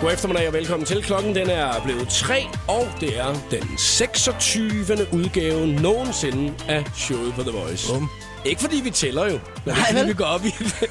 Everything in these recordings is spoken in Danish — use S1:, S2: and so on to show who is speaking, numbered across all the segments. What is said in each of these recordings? S1: God eftermiddag og velkommen til. Klokken den er blevet 3, og det er den 26. udgave nogensinde af showet på The Voice.
S2: Bum.
S1: Ikke fordi vi tæller jo, men Nej, fordi vi går op i det.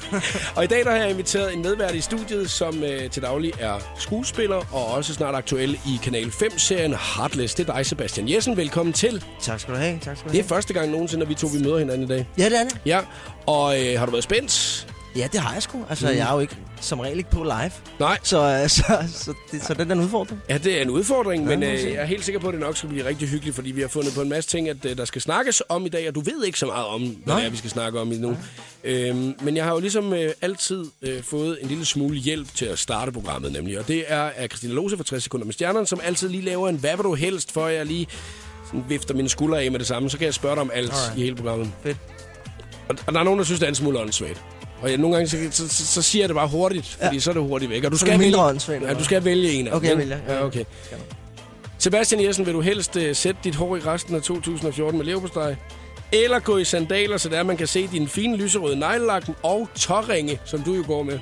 S1: og i dag der har jeg inviteret en medvært i studiet, som øh, til daglig er skuespiller og også snart aktuel i Kanal 5-serien Heartless. Det er dig, Sebastian Jessen. Velkommen til.
S2: Tak skal du have. Tak skal du
S1: Det
S2: have.
S1: er første gang nogensinde, at vi to vi møder hinanden i dag.
S2: Ja, det er det.
S1: Ja, og øh, har du været spændt?
S2: Ja, det har jeg sgu. Altså, mm. jeg er jo ikke som regel ikke på live.
S1: Nej.
S2: Så, øh, så, så, det, så den er en udfordring.
S1: Ja, det er en udfordring, men
S2: må vi
S1: øh,
S2: se.
S1: jeg er helt sikker på, at det nok skal blive rigtig hyggeligt, fordi vi har fundet på en masse ting, at øh, der skal snakkes om i dag, og du ved ikke så meget om, hvad
S2: Nej.
S1: det er, vi skal snakke om endnu. Øhm, men jeg har jo ligesom øh, altid øh, fået en lille smule hjælp til at starte programmet, nemlig. Og det er af Christina Lose fra 60 sekunder med stjernerne, som altid lige laver en hvad vil du helst, for at jeg lige sådan vifter mine skuldre af med det samme. Så kan jeg spørge dig om alt Alright.
S2: Alright.
S1: i hele programmet.
S2: Fedt.
S1: Og, og der er nogen, der synes, det er en smule åndssvagt. Og jeg, nogle gange, så, så, så, så siger jeg det bare hurtigt, fordi ja. så er det hurtigt væk. Og du
S2: Så er
S1: skal
S2: det mindre
S1: vælge-
S2: åndssvagt, eller
S1: Ja, du
S2: hvad?
S1: skal vælge en af dem,
S2: Okay, jeg
S1: ikke?
S2: vælger. Ja,
S1: Ja,
S2: ja.
S1: okay. Sebastian Jessen, vil du helst uh, sætte dit hår i resten af 2014 med leverpostej? Eller gå i sandaler, så der man kan se din fine lyserøde neglelak og tåringe, som du jo går med.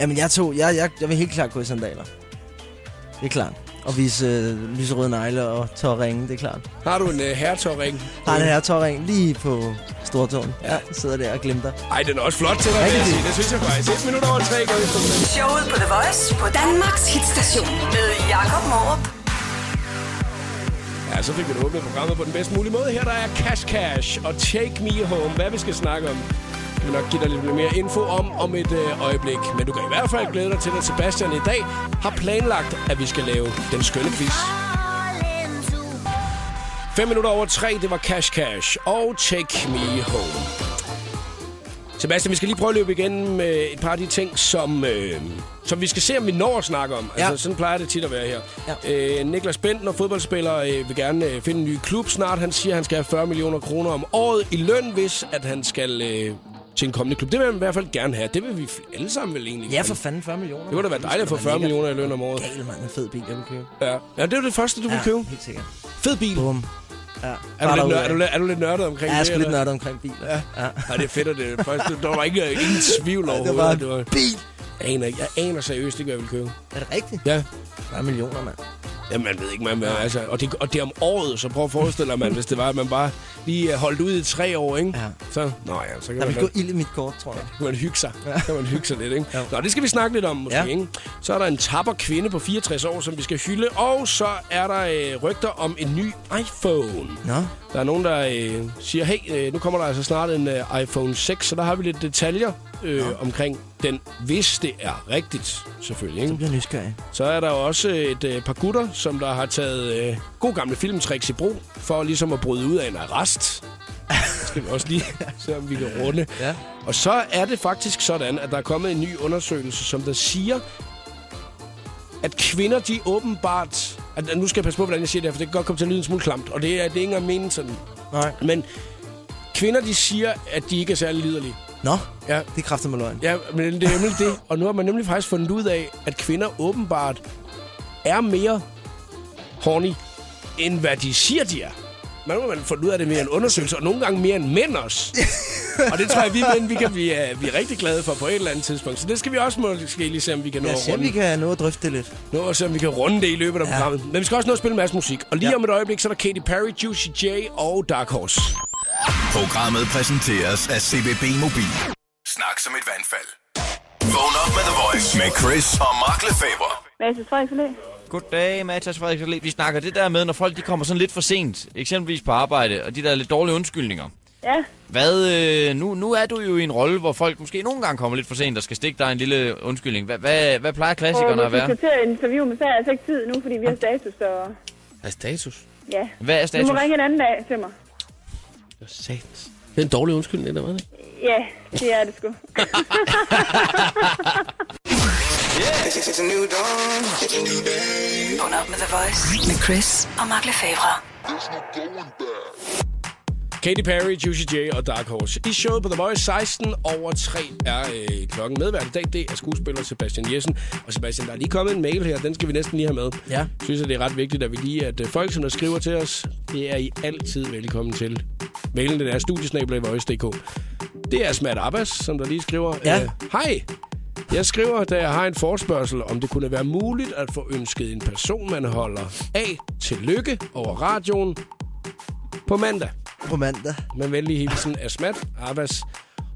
S2: Jamen, jeg, tog, jeg, jeg, jeg vil helt klart gå i sandaler. Det er klart. Og vise øh, lyserøde negle og tårringe, det er klart.
S1: Har du en uh, herretåring?
S2: Har den her tårring lige på stortåen. Ja. ja. sidder der og glimter.
S1: Ej, den er også flot til dig, vil jeg
S2: Rigtig.
S1: sige. Det synes jeg faktisk. Et minut over tre går efter.
S3: Showet på The Voice på Danmarks hitstation med Jakob Morup.
S1: Ja, så fik vi det åbnet programmet på den bedst mulige måde. Her der er Cash Cash og Take Me Home. Hvad vi skal snakke om, kan vi nok give dig lidt mere info om om et øh, øjeblik. Men du kan i hvert fald glæde dig til, at Sebastian i dag har planlagt, at vi skal lave den skønne quiz. 5 minutter over 3, det var Cash Cash og Take Me Home. Sebastian, vi skal lige prøve at løbe igennem øh, et par af de ting, som, øh, som vi skal se, om vi når at snakke om. Altså,
S2: Ja.
S1: sådan plejer det tit at være her.
S2: Ja.
S1: Øh, Niklas Bentner, fodboldspiller, øh, vil gerne øh, finde en ny klub snart. Han siger, at han skal have 40 millioner kroner om året i løn, hvis at han skal øh, til en kommende klub. Det vil han i hvert fald gerne have. Det vil vi alle sammen vel egentlig
S2: Ja,
S1: gerne.
S2: for fanden 40 millioner.
S1: Det kunne da være dejligt at få 40 millioner i løn om året.
S2: Gal, mand. En fed bil, jeg vil købe.
S1: Ja. ja, det er jo det første, du ja. vil købe.
S2: helt sikkert.
S1: Fed bil.
S2: Bum. Ja.
S1: Er
S2: Bare
S1: du, lidt nør-
S2: derudad.
S1: er, du, lidt- er du lidt nørdet omkring
S2: Ja, jeg er
S1: det?
S2: sgu lidt nørdet omkring biler. Ja. ja.
S1: Ja, det er fedt, at det er det første. Der var ikke øh, ingen tvivl
S2: Det
S1: overhovedet.
S2: var
S1: Det
S2: en bil.
S1: Jeg aner, ikke- jeg aner seriøst ikke, hvad jeg vil købe.
S2: Er det rigtigt?
S1: Ja.
S2: 40 millioner, mand.
S1: Jamen, man ved ikke, man, man altså, og, det, og det er om året, så prøv at forestille dig, man, hvis det var, at man bare lige øh, holdt ud i tre år, ikke?
S2: Ja.
S1: Så, nå ja, så kan
S2: Der
S1: man,
S2: vil gå ild i mit kort, tror jeg.
S1: kan man hygge sig. Ja. Kan man hygge sig lidt, ikke? Ja.
S2: Ja.
S1: Nå, det skal vi snakke lidt om, måske, ja.
S2: Ja.
S1: ikke? Så er der en tapper kvinde på 64 år, som vi skal hylde, og så er der øh, rygter om en ny iPhone.
S2: Nå.
S1: Der er nogen, der øh, siger, hey, øh, nu kommer der altså snart en øh, iPhone 6, så der har vi lidt detaljer øh, omkring den, hvis det er rigtigt, selvfølgelig.
S2: Nu
S1: Ikke?
S2: bliver jeg nysgerrig.
S1: Så er der jo også et øh, par gutter, som der har taget øh, god gamle filmtricks i brug, for ligesom at bryde ud af en arrest. Det skal vi også lige se, om vi kan runde.
S2: Ja.
S1: Og så er det faktisk sådan, at der er kommet en ny undersøgelse, som der siger, at kvinder, de åbenbart... At, nu skal jeg passe på, hvordan jeg siger det her, for det kan godt komme til at lyde en smule klamt, og det er, det er ikke engang meningen sådan.
S2: Nej.
S1: Men kvinder, de siger, at de ikke er særlig liderlige.
S2: Nå,
S1: Ja,
S2: det er kraftigt med løgn.
S1: ja men det er nemlig det. Og nu har man nemlig faktisk fundet ud af, at kvinder åbenbart er mere horny, end hvad de siger, de er. Man har man fundet ud af det mere en undersøgelse, og nogle gange mere end mænd også. og det tror jeg, vi mænd, vi kan blive, uh, blive rigtig glade for på et eller andet tidspunkt. Så det skal vi også måske lige se, om vi kan nå
S2: Jeg
S1: at
S2: ser,
S1: runde.
S2: vi kan nå at drøfte det lidt.
S1: Nå, og se om vi kan runde det i løbet af ja.
S2: Ja.
S1: programmet. Men vi skal også nå at spille en masse musik. Og lige ja.
S2: Ja.
S1: om et øjeblik, så er der Katy Perry, Juicy J og Dark Horse.
S4: Programmet præsenteres af CBB Mobil. Snak som et vandfald. Vågn op med The Voice med Chris og Mark Lefebvre.
S5: Mads Frederiks Allé.
S6: Goddag, Matas Frederik. Allé. Vi snakker det der med, når folk de kommer sådan lidt for sent, eksempelvis på arbejde, og de der lidt dårlige undskyldninger.
S5: Ja,
S6: Hvad, øh, nu, nu er du jo i en rolle, hvor folk måske nogle gange kommer lidt for sent og skal stikke dig en lille undskyldning. Hvad, hvad, hvad plejer
S5: og
S6: klassikerne at
S5: vi
S6: være?
S5: skal til at interviewe, men så er jeg altså ikke tid nu, fordi vi har status, så
S1: Er Altså, status?
S5: ja.
S6: Hvad er
S5: Du
S6: status?
S5: må ringe en anden dag til mig.
S1: Sat. Det er en dårlig undskyldning, der var det.
S5: Ja, det er det sgu.
S3: Vågn op med The Voice med Chris og Mark Lefebvre.
S1: Katy Perry, Juicy J og Dark Horse. I showet på The Voice 16 over 3 er øh, klokken. Medvært i dag, det er skuespiller Sebastian Jessen. Og Sebastian, der er lige kommet en mail her, den skal vi næsten lige have med.
S2: Ja.
S1: Jeg synes, at det er ret vigtigt, at vi lige, at øh, folk, som der skriver til os, det er I altid velkommen til. Mailen den er studiesnabel.voice.dk. Det er Smat Abbas, som der lige skriver.
S2: Ja.
S1: øh, Hej, Jeg skriver, da jeg har en forspørgsel, om det kunne være muligt at få ønsket en person, man holder af til lykke over radioen på mandag.
S2: På mandag.
S1: Med venlig hilsen Asmat Abbas.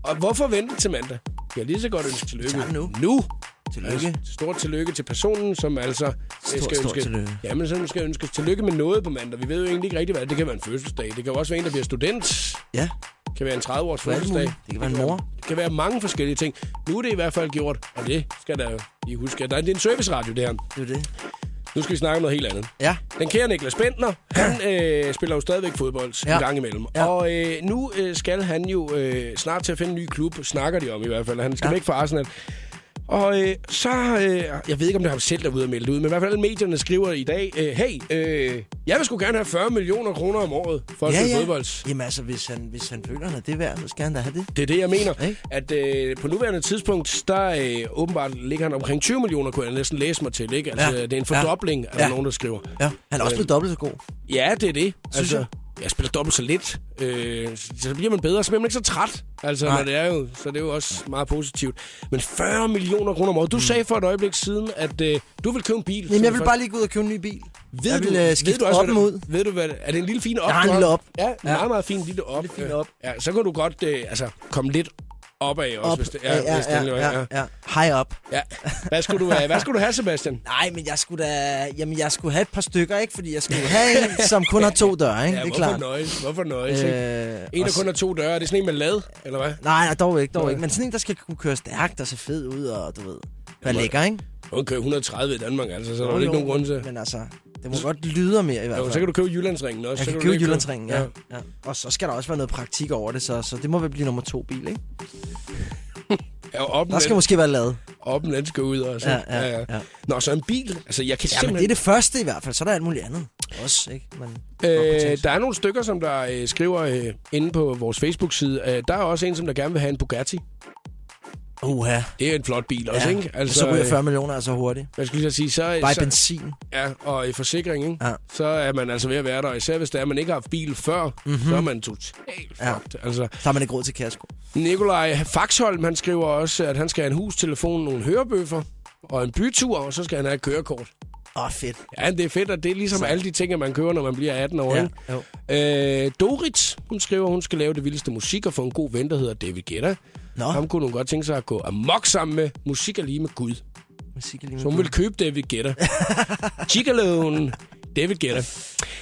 S1: Og hvorfor vente til mandag? Jeg kan lige så godt ønske tillykke.
S2: Tak nu.
S1: Nu.
S2: Tillykke.
S1: Altså, stort tillykke til personen, som altså øh, skal
S2: stort
S1: ønske...
S2: tillykke.
S1: Jamen, som skal ønskes tillykke med noget på mandag. Vi ved jo egentlig ikke rigtig, hvad det kan være en fødselsdag. Det kan jo også være en, der bliver student.
S2: Ja,
S1: Det kan være en 30-års
S2: på alt
S1: fødselsdag.
S2: muligt. Det kan være en mor.
S1: Det kan være mange forskellige ting. Nu er det i hvert fald gjort, og det skal der jo lige huske. Der er, det er en serviceradio, det her.
S2: Det er jo det.
S1: Nu skal vi snakke om noget helt andet.
S2: Ja.
S1: Den kære Niklas Bentner, han øh, spiller jo stadigvæk fodbold ja.
S2: Ja.
S1: en gang imellem. Ja.
S2: Ja.
S1: Og øh, nu øh, skal han jo øh, snart til at finde en ny klub, snakker de om i hvert fald. Han skal ja.
S2: Ja.
S1: væk fra Arsenal. Og øh, så, øh, jeg ved ikke, om det er ham selv, der er ude og melde det ud, men i hvert fald alle medierne skriver i dag, øh, hey, øh, jeg vil sgu gerne have 40 millioner kroner om året for at ja,
S2: ja,
S1: spille ja.
S2: ja.
S1: fodbold.
S2: Jamen altså, hvis han, hvis han føler, han er det værd, så skal han da have det.
S1: Det er det, jeg mener.
S2: Ikke?
S1: At øh, på nuværende tidspunkt, der øh, åbenbart ligger han omkring 20 millioner, kunne jeg næsten læse mig til. Ikke? Altså, ja.
S2: Ja.
S1: det er en
S2: Ja.
S1: fordobling, ja. er der
S2: Ja.
S1: nogen, der skriver.
S2: Ja, han
S1: Øh.
S2: er også blevet dobbelt så god.
S1: Ja, det er det. altså, jeg.
S2: jeg.
S1: spiller dobbelt så lidt. Øh, så bliver man bedre, så bliver man ikke så træt. Altså,
S2: Nej.
S1: når det er jo, så det er jo også meget positivt. Men 40 millioner kroner om året. Du sagde for et øjeblik siden, at øh, du vil købe en bil.
S2: Mm. Jamen, jeg
S1: Så
S2: vil
S1: det
S2: bare lige gå ud og købe en ny bil.
S1: Ved
S2: jeg
S1: du,
S2: vil øh,
S1: ved
S2: skifte
S1: du også,
S2: op
S1: hvad
S2: mod.
S1: det- Ved du hvad, det- er det en lille fin op?
S2: Jeg har en
S1: du har?
S2: lille op.
S1: Ja, en
S2: Ja.
S1: meget, meget fin lille op.
S2: Lille fin op.
S1: Ja, så kan du godt øh, altså, komme lidt opad også,
S2: Op.
S1: hvis det
S2: Ja, ja,
S1: hvis det
S2: ja,
S1: endelig var,
S2: ja, ja. High up.
S1: ja. Hvad, skulle du, øh, hvad skulle du have, Sebastian?
S2: Nej, men jeg skulle da... Jamen, jeg skulle have et par stykker, ikke? Fordi jeg skulle have en, som kun har to døre, ikke?
S1: Ja,
S2: det er
S1: hvorfor
S2: klart.
S1: nøjes? Hvorfor nøjes? Øh,
S2: Øh,
S1: en,
S2: og
S1: der
S2: s-
S1: kun har to døre. Er det sådan en med lad, eller hvad?
S2: Nej, nej, dog ikke, dog ikke. Men sådan en, der skal kunne køre stærkt og se fed ud, og du ved... Hvad
S1: må-
S2: lækker, ikke?
S1: Hun kører 130 i Danmark, altså, så der er
S2: Jo,
S1: ikke
S2: jo,
S1: nogen grund til.
S2: Men altså, det må godt lyde mere i hvert
S1: Jo,
S2: fald.
S1: så kan du købe Jyllandsringen også.
S2: jeg
S1: så
S2: kan
S1: du
S2: købe
S1: lige
S2: Jyllandsringen, ja. ja. Og så skal der også være noget praktik over det, så, så det må vel blive nummer to bil, ikke?
S1: Ja, og
S2: Der skal måske være lavet.
S1: oppen, den skal ud og så.
S2: Ja, ja, ja.
S1: Nå, så en bil. Altså, jeg kan
S2: Ja, men det er det første i hvert fald. Så er der alt muligt andet. Også, ikke? Men,
S1: Øh, der er nogle stykker, som der øh, skriver øh, inde på vores Facebook-side. Øh, der er også en, som der gerne vil have en Bugatti.
S2: Uha.
S1: Det er en flot bil også,
S2: Ja.
S1: ikke?
S2: Altså, så ryger
S1: øh,
S2: 40 millioner altså hurtigt.
S1: Hvad skulle jeg sige? Så,
S2: Bare i
S1: så,
S2: benzin.
S1: ja, og i forsikring, ikke?
S2: Ja.
S1: Så er man altså ved at være der. Især hvis det er, at man ikke har haft bil før, mm-hmm. så er man totalt
S2: Mhm. Ja.
S1: fucked. Altså,
S2: Så har man ikke råd til kasko.
S1: Nikolaj Faxholm, han skriver også, at han skal have en hustelefon, nogle hørebøffer og en bytur, og så skal han have et kørekort.
S2: Åh, oh, fedt.
S1: Ja, det er fedt, og det er ligesom alle de ting, at man kører, når man bliver 18 år.
S2: Ja,
S1: ikke?
S2: jo.
S1: Øh, Dorit, hun skriver, hun skal lave det vildeste musik og få en god ven, der hedder David Guetta.
S2: Nå,
S1: Ham kunne hun godt tænke sig at gå amok sammen med musik er lige med Gud. Så
S2: musik er lige
S1: hun
S2: med.
S1: vil købe David Guetta. Chicaloen, David Guetta.
S2: Det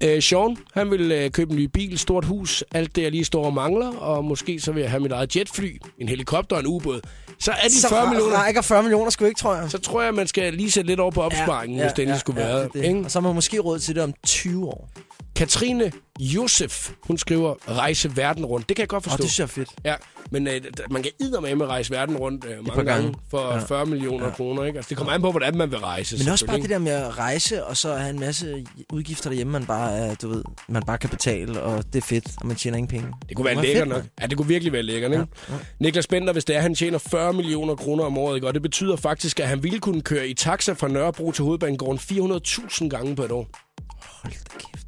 S2: er det.
S1: Øh, Sean, han vil øh, købe en ny bil, stort hus, alt det, jeg lige står og mangler, og måske så vil jeg have mit eget jetfly, en helikopter og en ubåd. Så er de
S2: Så
S1: 40 millioner.
S2: rækker 40 millioner sgu ikke, tror jeg.
S1: Så tror jeg, man skal lige sætte lidt over på opsparingen, ja, hvis det endelig ja, skulle ja, være.
S2: det er det.
S1: Ikke?
S2: Og så har man måske råd til det om 20 år.
S1: Katrine Josef, hun skriver, rejse verden rundt. Det kan jeg godt
S2: Og
S1: forstå.
S2: det synes jeg er fedt.
S1: Ja, men øh, d- man kan eddermame rejse verden rundt øh, mange
S2: par
S1: gange.
S2: gange.
S1: gange for ja. 40 millioner ja. kroner, ikke? Altså, det kommer an på, hvordan man vil rejse.
S2: Men også bare
S1: selvfølgelig,
S2: det der med at rejse, og så have en masse udgifter derhjemme, man bare, er, du ved, man bare kan betale, og det er fedt, og man tjener ingen penge.
S1: ikke? det kunne være
S2: var fedt,
S1: lækkert nok.
S2: mand.
S1: Ja, det kunne virkelig være lækkert, ikke? Ja. Ja. Niklas Bender, hvis det er, han tjener 40 millioner kroner om året, ikke? Og det betyder faktisk, at han ville kunne køre i taxa fra Nørrebro til Hovedbanegården 400.000 gange på et år.
S2: Hold da kæft. mand.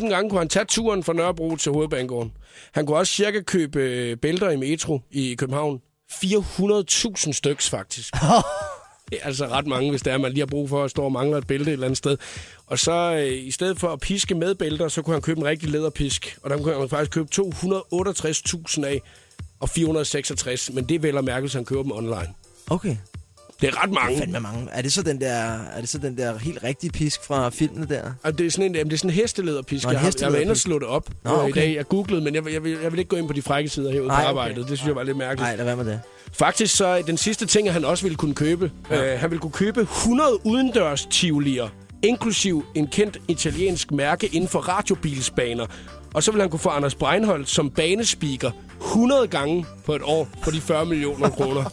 S1: 400.000 gange kunne han tage turen fra Nørrebro til Hovedbanegården. Han kunne også cirka købe øh, bælter i metro i København. 400.000 styks, faktisk. Det er altså ret mange, hvis det er, man lige har brug for at stå og mangler et bælte et eller andet sted. Og så øh, i stedet for at piske med bælter, så kunne han købe en rigtig læderpisk. Og dem kunne han faktisk købe 268.000 af og 466, men det er vel at mærke, hvis han køber dem online.
S2: Okay.
S1: Det er ret mange.
S2: Fandme mange. Er det så den der, er det så den der helt rigtige pisk fra filmene der?
S1: Og det er sådan en, jamen, det er sådan en hestelederpisk.
S2: Nå,
S1: Nå,
S2: en
S1: jeg, har, jeg var inde og
S2: hestelederpisk.
S1: slå det op Nå,
S2: Nå,
S1: okay. i
S2: okay.
S1: dag. Jeg googlede, men jeg, vil- jeg, vil, jeg vil ikke gå ind på de frække sider herude
S2: Nej,
S1: på
S2: okay.
S1: arbejdet. Det synes jeg var lidt mærkeligt.
S2: Nej, lad være med det.
S1: Faktisk så er den sidste ting, at han også ville kunne købe. Ja. Øh, han ville kunne købe 100 udendørs tivolier, inklusiv en kendt italiensk mærke inden for radiobilsbaner. Og så vil han kunne få Anders Breinholt som banespeaker 100 gange på et år for de 40 millioner kroner.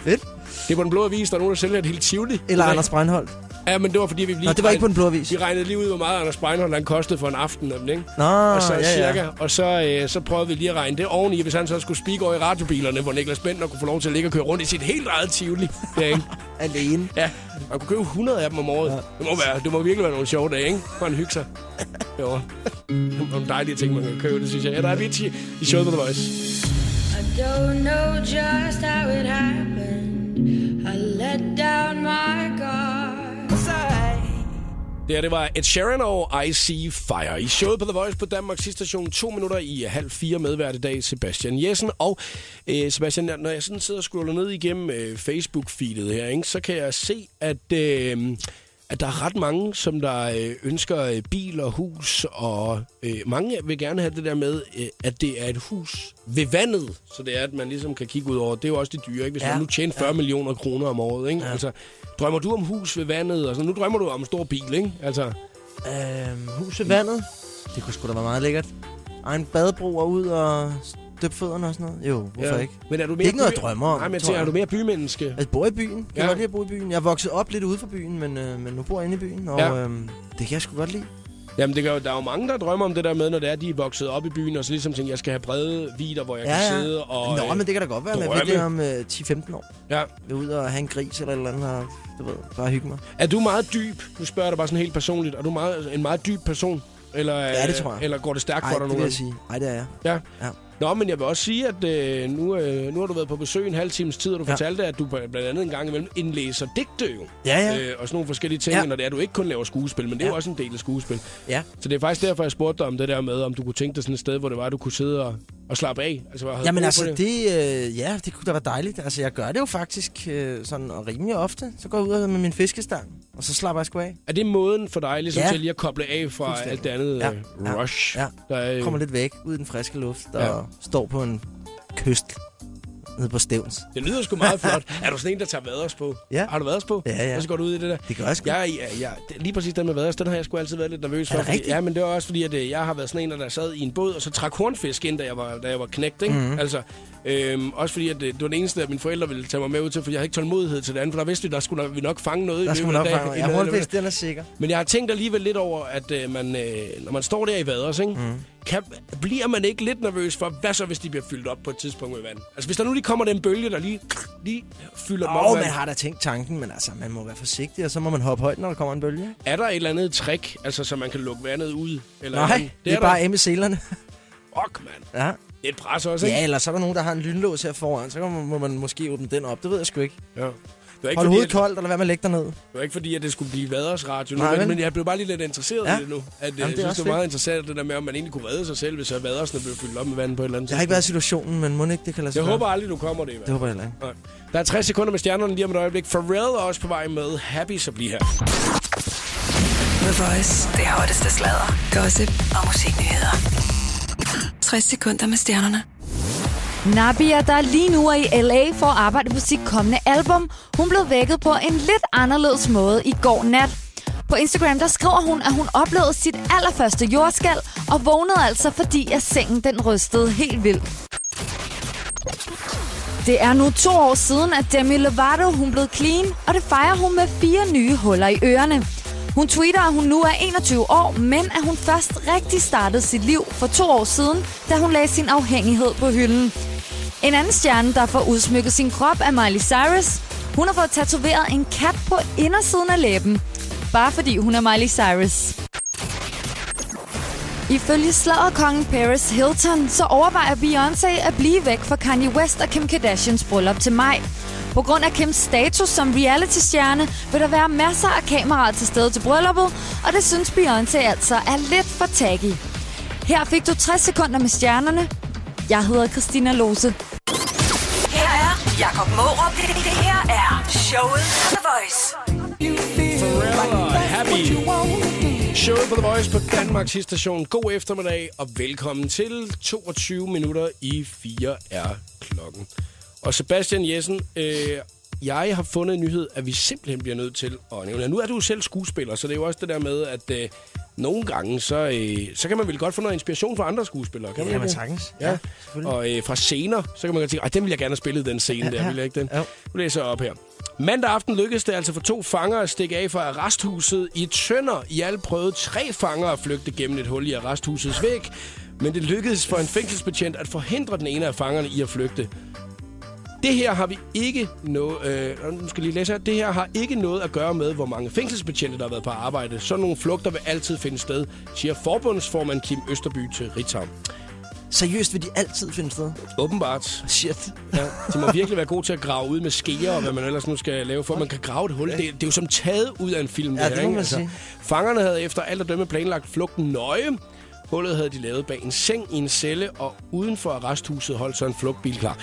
S2: Fedt.
S1: Det er på den blå avis, der er nogen, der sælger et helt tivoli.
S2: Eller
S1: Nej.
S2: Anders Breinholt.
S1: Ja, men det var fordi, vi lige...
S2: Nå, det var ikke på den blå avis.
S1: Vi regnede lige ud, hvor meget Anders Breinholt han kostede for en aften, nemlig, ikke?
S2: Nå,
S1: og så
S2: ja, ja.
S1: cirka, og så, øh, så prøvede vi lige at regne det oveni, hvis han så skulle speak over i radiobilerne, hvor Niklas Bentner kunne få lov til at ligge og køre rundt i sit helt eget tivoli. Ja, ikke?
S2: Alene.
S1: ja. Man kunne købe 100 af dem om året. Ja. Det, må være, det må virkelig være nogle sjove dage, ikke? For en hygge sig. Jo. Nogle dejlige ting, man kan købe, det synes jeg. Ja, der er Avicii i showet på The Voice.
S7: I don't know just how it happened. I let down my guard.
S1: Det her, det var Ed Sheeran og I See Fire. I showet på The Voice på Danmarks station. To minutter i halv fire medvært i dag, Sebastian Jessen. Og øh, Sebastian, når- når jeg sådan sidder og scroller ned igennem øh, Facebook-feedet her, ikke, så kan jeg se, at, øh, at der er ret mange, som der øh, ønsker øh, bil og hus. Og øh, mange vil gerne have det der med, øh, at det er et hus ved vandet. Så det er, at man ligesom kan kigge ud over. Det er jo også det dyre, ikke? Hvis ja.
S2: Ja.
S1: man nu tjener 40 ja. millioner kroner om året, ikke? Ja. Altså, drømmer du om hus ved vandet? Altså, nu drømmer du om en stor bil, ikke? Altså...
S2: Øhm, huset vandet. Det kunne sgu da være meget lækkert. Egen badebro og ud og døbe fødderne og sådan noget. Jo, hvorfor ja. ikke?
S1: Men er du mere
S2: Det er ikke noget, jeg
S1: by-
S2: drømmer om,
S1: Nej, men jeg
S2: tror
S1: tænker,
S2: jeg.
S1: er du mere bymenneske?
S2: Altså, jeg bor i byen. Jeg
S1: Ja.
S2: kan godt lide at bo i byen. Jeg er vokset op lidt ude for byen, men, øh, men nu bor jeg inde i byen. Og
S1: Ja.
S2: ja. øhm, det kan jeg sgu godt lide.
S1: Jamen, det gør, jo- der er jo mange, der drømmer om det der med, når det er, de er vokset op i byen, og så ligesom tænker, jeg skal have brede vider, hvor jeg ja, kan sidde og...
S2: Nå,
S1: øh,
S2: men det kan da godt være, at
S1: drømme.
S2: jeg bliver om øh, 10-15 år.
S1: ja.
S2: Vil ud og have en gris eller et eller andet, og du ved, bare hygge mig.
S1: Er du meget dyb? Nu spørger jeg dig bare sådan helt personligt. Er du meget, en meget dyb person? Eller,
S2: Ja, det
S1: øh,
S2: tror jeg.
S1: Eller går det stærkt
S2: Ej,
S1: for dig
S2: det
S1: nogle
S2: vil jeg
S1: gange?
S2: sige. Ej, det er jeg.
S1: Ja.
S2: Ja.
S1: Nå, men jeg vil også sige, at øh, nu, øh, nu har du været på besøg en halv times tid, og du ja.
S2: Ja.
S1: fortalte, at du blandt andet en gang imellem indlæser digte jo.
S2: Ja, ja.
S1: Øh, og sådan nogle forskellige ting, ja.
S2: Ja.
S1: når det er, at du ikke kun laver skuespil, men det er ja.
S2: Ja.
S1: jo også en del af skuespil.
S2: Ja.
S1: Så det er faktisk derfor, jeg spurgte dig om det der med, om du kunne tænke dig sådan et sted, hvor det var, du kunne sidde og, og slappe af. Altså, bare holde ro
S2: Jamen
S1: på
S2: altså, det, øh, ja, det kunne da være dejligt. Altså, jeg gør det jo faktisk øh, sådan og rimelig ofte. Så går jeg ud med min fiskestang, og så slapper jeg sgu af.
S1: Er det måden for dig ligesom, ja.
S2: Ja.
S1: til lige at koble af fra alt det andet ja.
S2: Ja.
S1: øh,
S2: Ja.
S1: rush?
S2: Ja.
S1: Der er, øh,
S2: Kommer lidt væk ud i den friske luft og
S1: Ja.
S2: står på en kyst nede på Stævns.
S1: Det lyder sgu meget flot. Er du sådan en, der tager vaders på?
S2: Ja.
S1: Har du vaders på?
S2: Ja, ja.
S1: Og så går du ud i det der?
S2: Det gør jeg sgu.
S1: Jeg, jeg, jeg, det- lige præcis den med vaders, den har jeg sgu altid været lidt nervøs
S2: Er
S1: for.
S2: det
S1: fordi,
S2: rigtigt?
S1: ja, men det var også fordi, at øh, jeg har været sådan en, der sad i en båd, og så trak hornfisk ind, da jeg var, da jeg var knægt, ikke?
S2: Mhm.
S1: Mm-hmm. Altså, øhm, også fordi, at øh, det var den eneste, at mine forældre ville tage mig med ud til, for jeg havde ikke tålmodighed til det andet, for der vidste vi, der skulle vi nok fange noget
S2: Der
S1: i
S2: skal man
S1: løbet af
S2: nok
S1: dagen.
S2: fange
S1: I
S2: Ja,
S1: løbet af-
S2: Hornfisk, den er sikker.
S1: men jeg har tænkt alligevel lidt over, at øh, man, øh, når man står der i vaders, ikke, mm. kan, bliver man ikke lidt nervøs for, hvad så hvis de bliver fyldt op på et tidspunkt med vand? Altså hvis der nu lige kommer den bølge, der lige, lige fylder dem op
S2: Og
S1: med
S2: man
S1: vand.
S2: har da tænkt tanken, men altså, man må være forsigtig, og så må man hoppe højt, når der kommer en bølge.
S1: Er der et eller andet trick, altså så man kan lukke vandet ud? Eller
S2: Nej,
S1: andet?
S2: det er
S1: der.
S2: bare af med selerne.
S1: Fuck, mand.
S2: Ja.
S1: Det er et pres også, ikke?
S2: ja, eller så er der nogen, der har en lynlås her foran, så kan man- må man måske åbne den op. Det ved jeg sgu ikke.
S1: Ja. Det var ikke,
S2: Hold
S1: fordi, at,
S2: hovedet koldt, eller hvad man lægger ned.
S1: det var ikke fordi, at det skulle blive vaders radio nu,
S2: Nej,
S1: men,
S2: vel?
S1: men jeg blev bare lige lidt interesseret
S2: Ja.
S1: i det nu. At, Jamen,
S2: det er
S1: jeg synes,
S2: også
S1: det var meget interessant, det der med, om man egentlig kunne redde sig selv, hvis så vadersene blev fyldt op med vand på et eller andet
S2: Jeg har ikke været i situationen, men må ikke det kan lade sig
S1: Jeg
S2: gøre?
S1: håber aldrig, du kommer det i hvert
S2: Det håber jeg heller ikke.
S1: Nej. Der er 60 sekunder med stjernerne lige om et øjeblik. Pharrell er også på vej med Happy, så bliv her.
S3: The Voice. Det hotteste sladder, gossip og musiknyheder. 60 sekunder med stjernerne.
S8: Nabia, der lige nu er i LA for at arbejde på sit kommende album, hun blev vækket på en lidt anderledes måde i går nat. På Instagram der skriver hun, at hun oplevede sit allerførste jordskal og vågnede altså, fordi at sengen den rystede helt vildt. Det er nu to år siden, at Demi Lovato hun blev clean, og det fejrer hun med fire nye huller i ørerne. Hun tweeter, at hun nu er 21 år, men at hun først rigtig startede sit liv for to år siden, da hun lagde sin afhængighed på hylden. En anden stjerne, der får udsmykket sin krop, er Miley Cyrus. Hun har fået tatoveret en kat på indersiden af læben, bare fordi hun er Miley Cyrus. Ifølge sladderkongen Paris Hilton, så overvejer Beyoncé at blive væk fra Kanye West og Kim Kardashians bryllup til maj. På grund af Kims status som reality-stjerne, vil der være masser af kameraer til stede til brylluppet, og det synes Beyoncé altså er lidt for taggy. Her fik du 60 sekunder med stjernerne. Jeg hedder Christina Lose.
S3: Her er Jakob Morup. Det, det her er showet på The Voice.
S1: Pharrell og Happy. Showet på The Voice på Danmarks station. God eftermiddag og velkommen til 22 minutter i 4 er klokken. Og Sebastian Jessen, øh, jeg har fundet en nyhed, at vi simpelthen bliver nødt til at nævne. Nu er du jo selv skuespiller, så det er jo også det der med, at øh, nogle gange, så, øh, så kan man vel godt få noget inspiration fra andre skuespillere. Kan man
S2: Ja,
S1: ikke
S2: men
S1: det?
S2: sagtens.
S1: Ja,
S2: Ja,
S1: ja
S2: selvfølgelig.
S1: og øh, fra scener, så kan man godt tænke, at den vil jeg gerne have spillet, den scene ja, der,
S2: ja.
S1: vil jeg ikke den?
S2: Jo.
S1: Nu læser jeg op her. Mandag aften lykkedes det altså for to fanger at stikke af fra arresthuset i Tønder. I alt prøvede tre fanger at flygte gennem et hul i arresthusets væg, men det lykkedes for en fængselsbetjent at forhindre den ene af fangerne i at flygte. Det her har vi ikke noget... Øh, nu skal jeg lige læse her. Det her har ikke noget at gøre med, hvor mange fængselsbetjente, der har været på arbejde. Sådan nogle flugter vil altid finde sted, siger forbundsformand Kim Østerby til Ritzau.
S2: Seriøst vil de altid finde sted.
S1: Åbenbart.
S2: Shit.
S1: Ja, de må virkelig være gode til at grave ud med skeer og hvad man ellers nu skal lave, for at man kan grave et hul. Det, det er jo som taget ud af en film.
S2: Ja,
S1: her,
S2: det må
S1: ikke? Altså,
S2: man sige.
S1: Fangerne havde efter alt at dømme planlagt flugten nøje. Hullet havde de lavet bag en seng i en celle, og uden for arresthuset holdt så en flugtbil klar.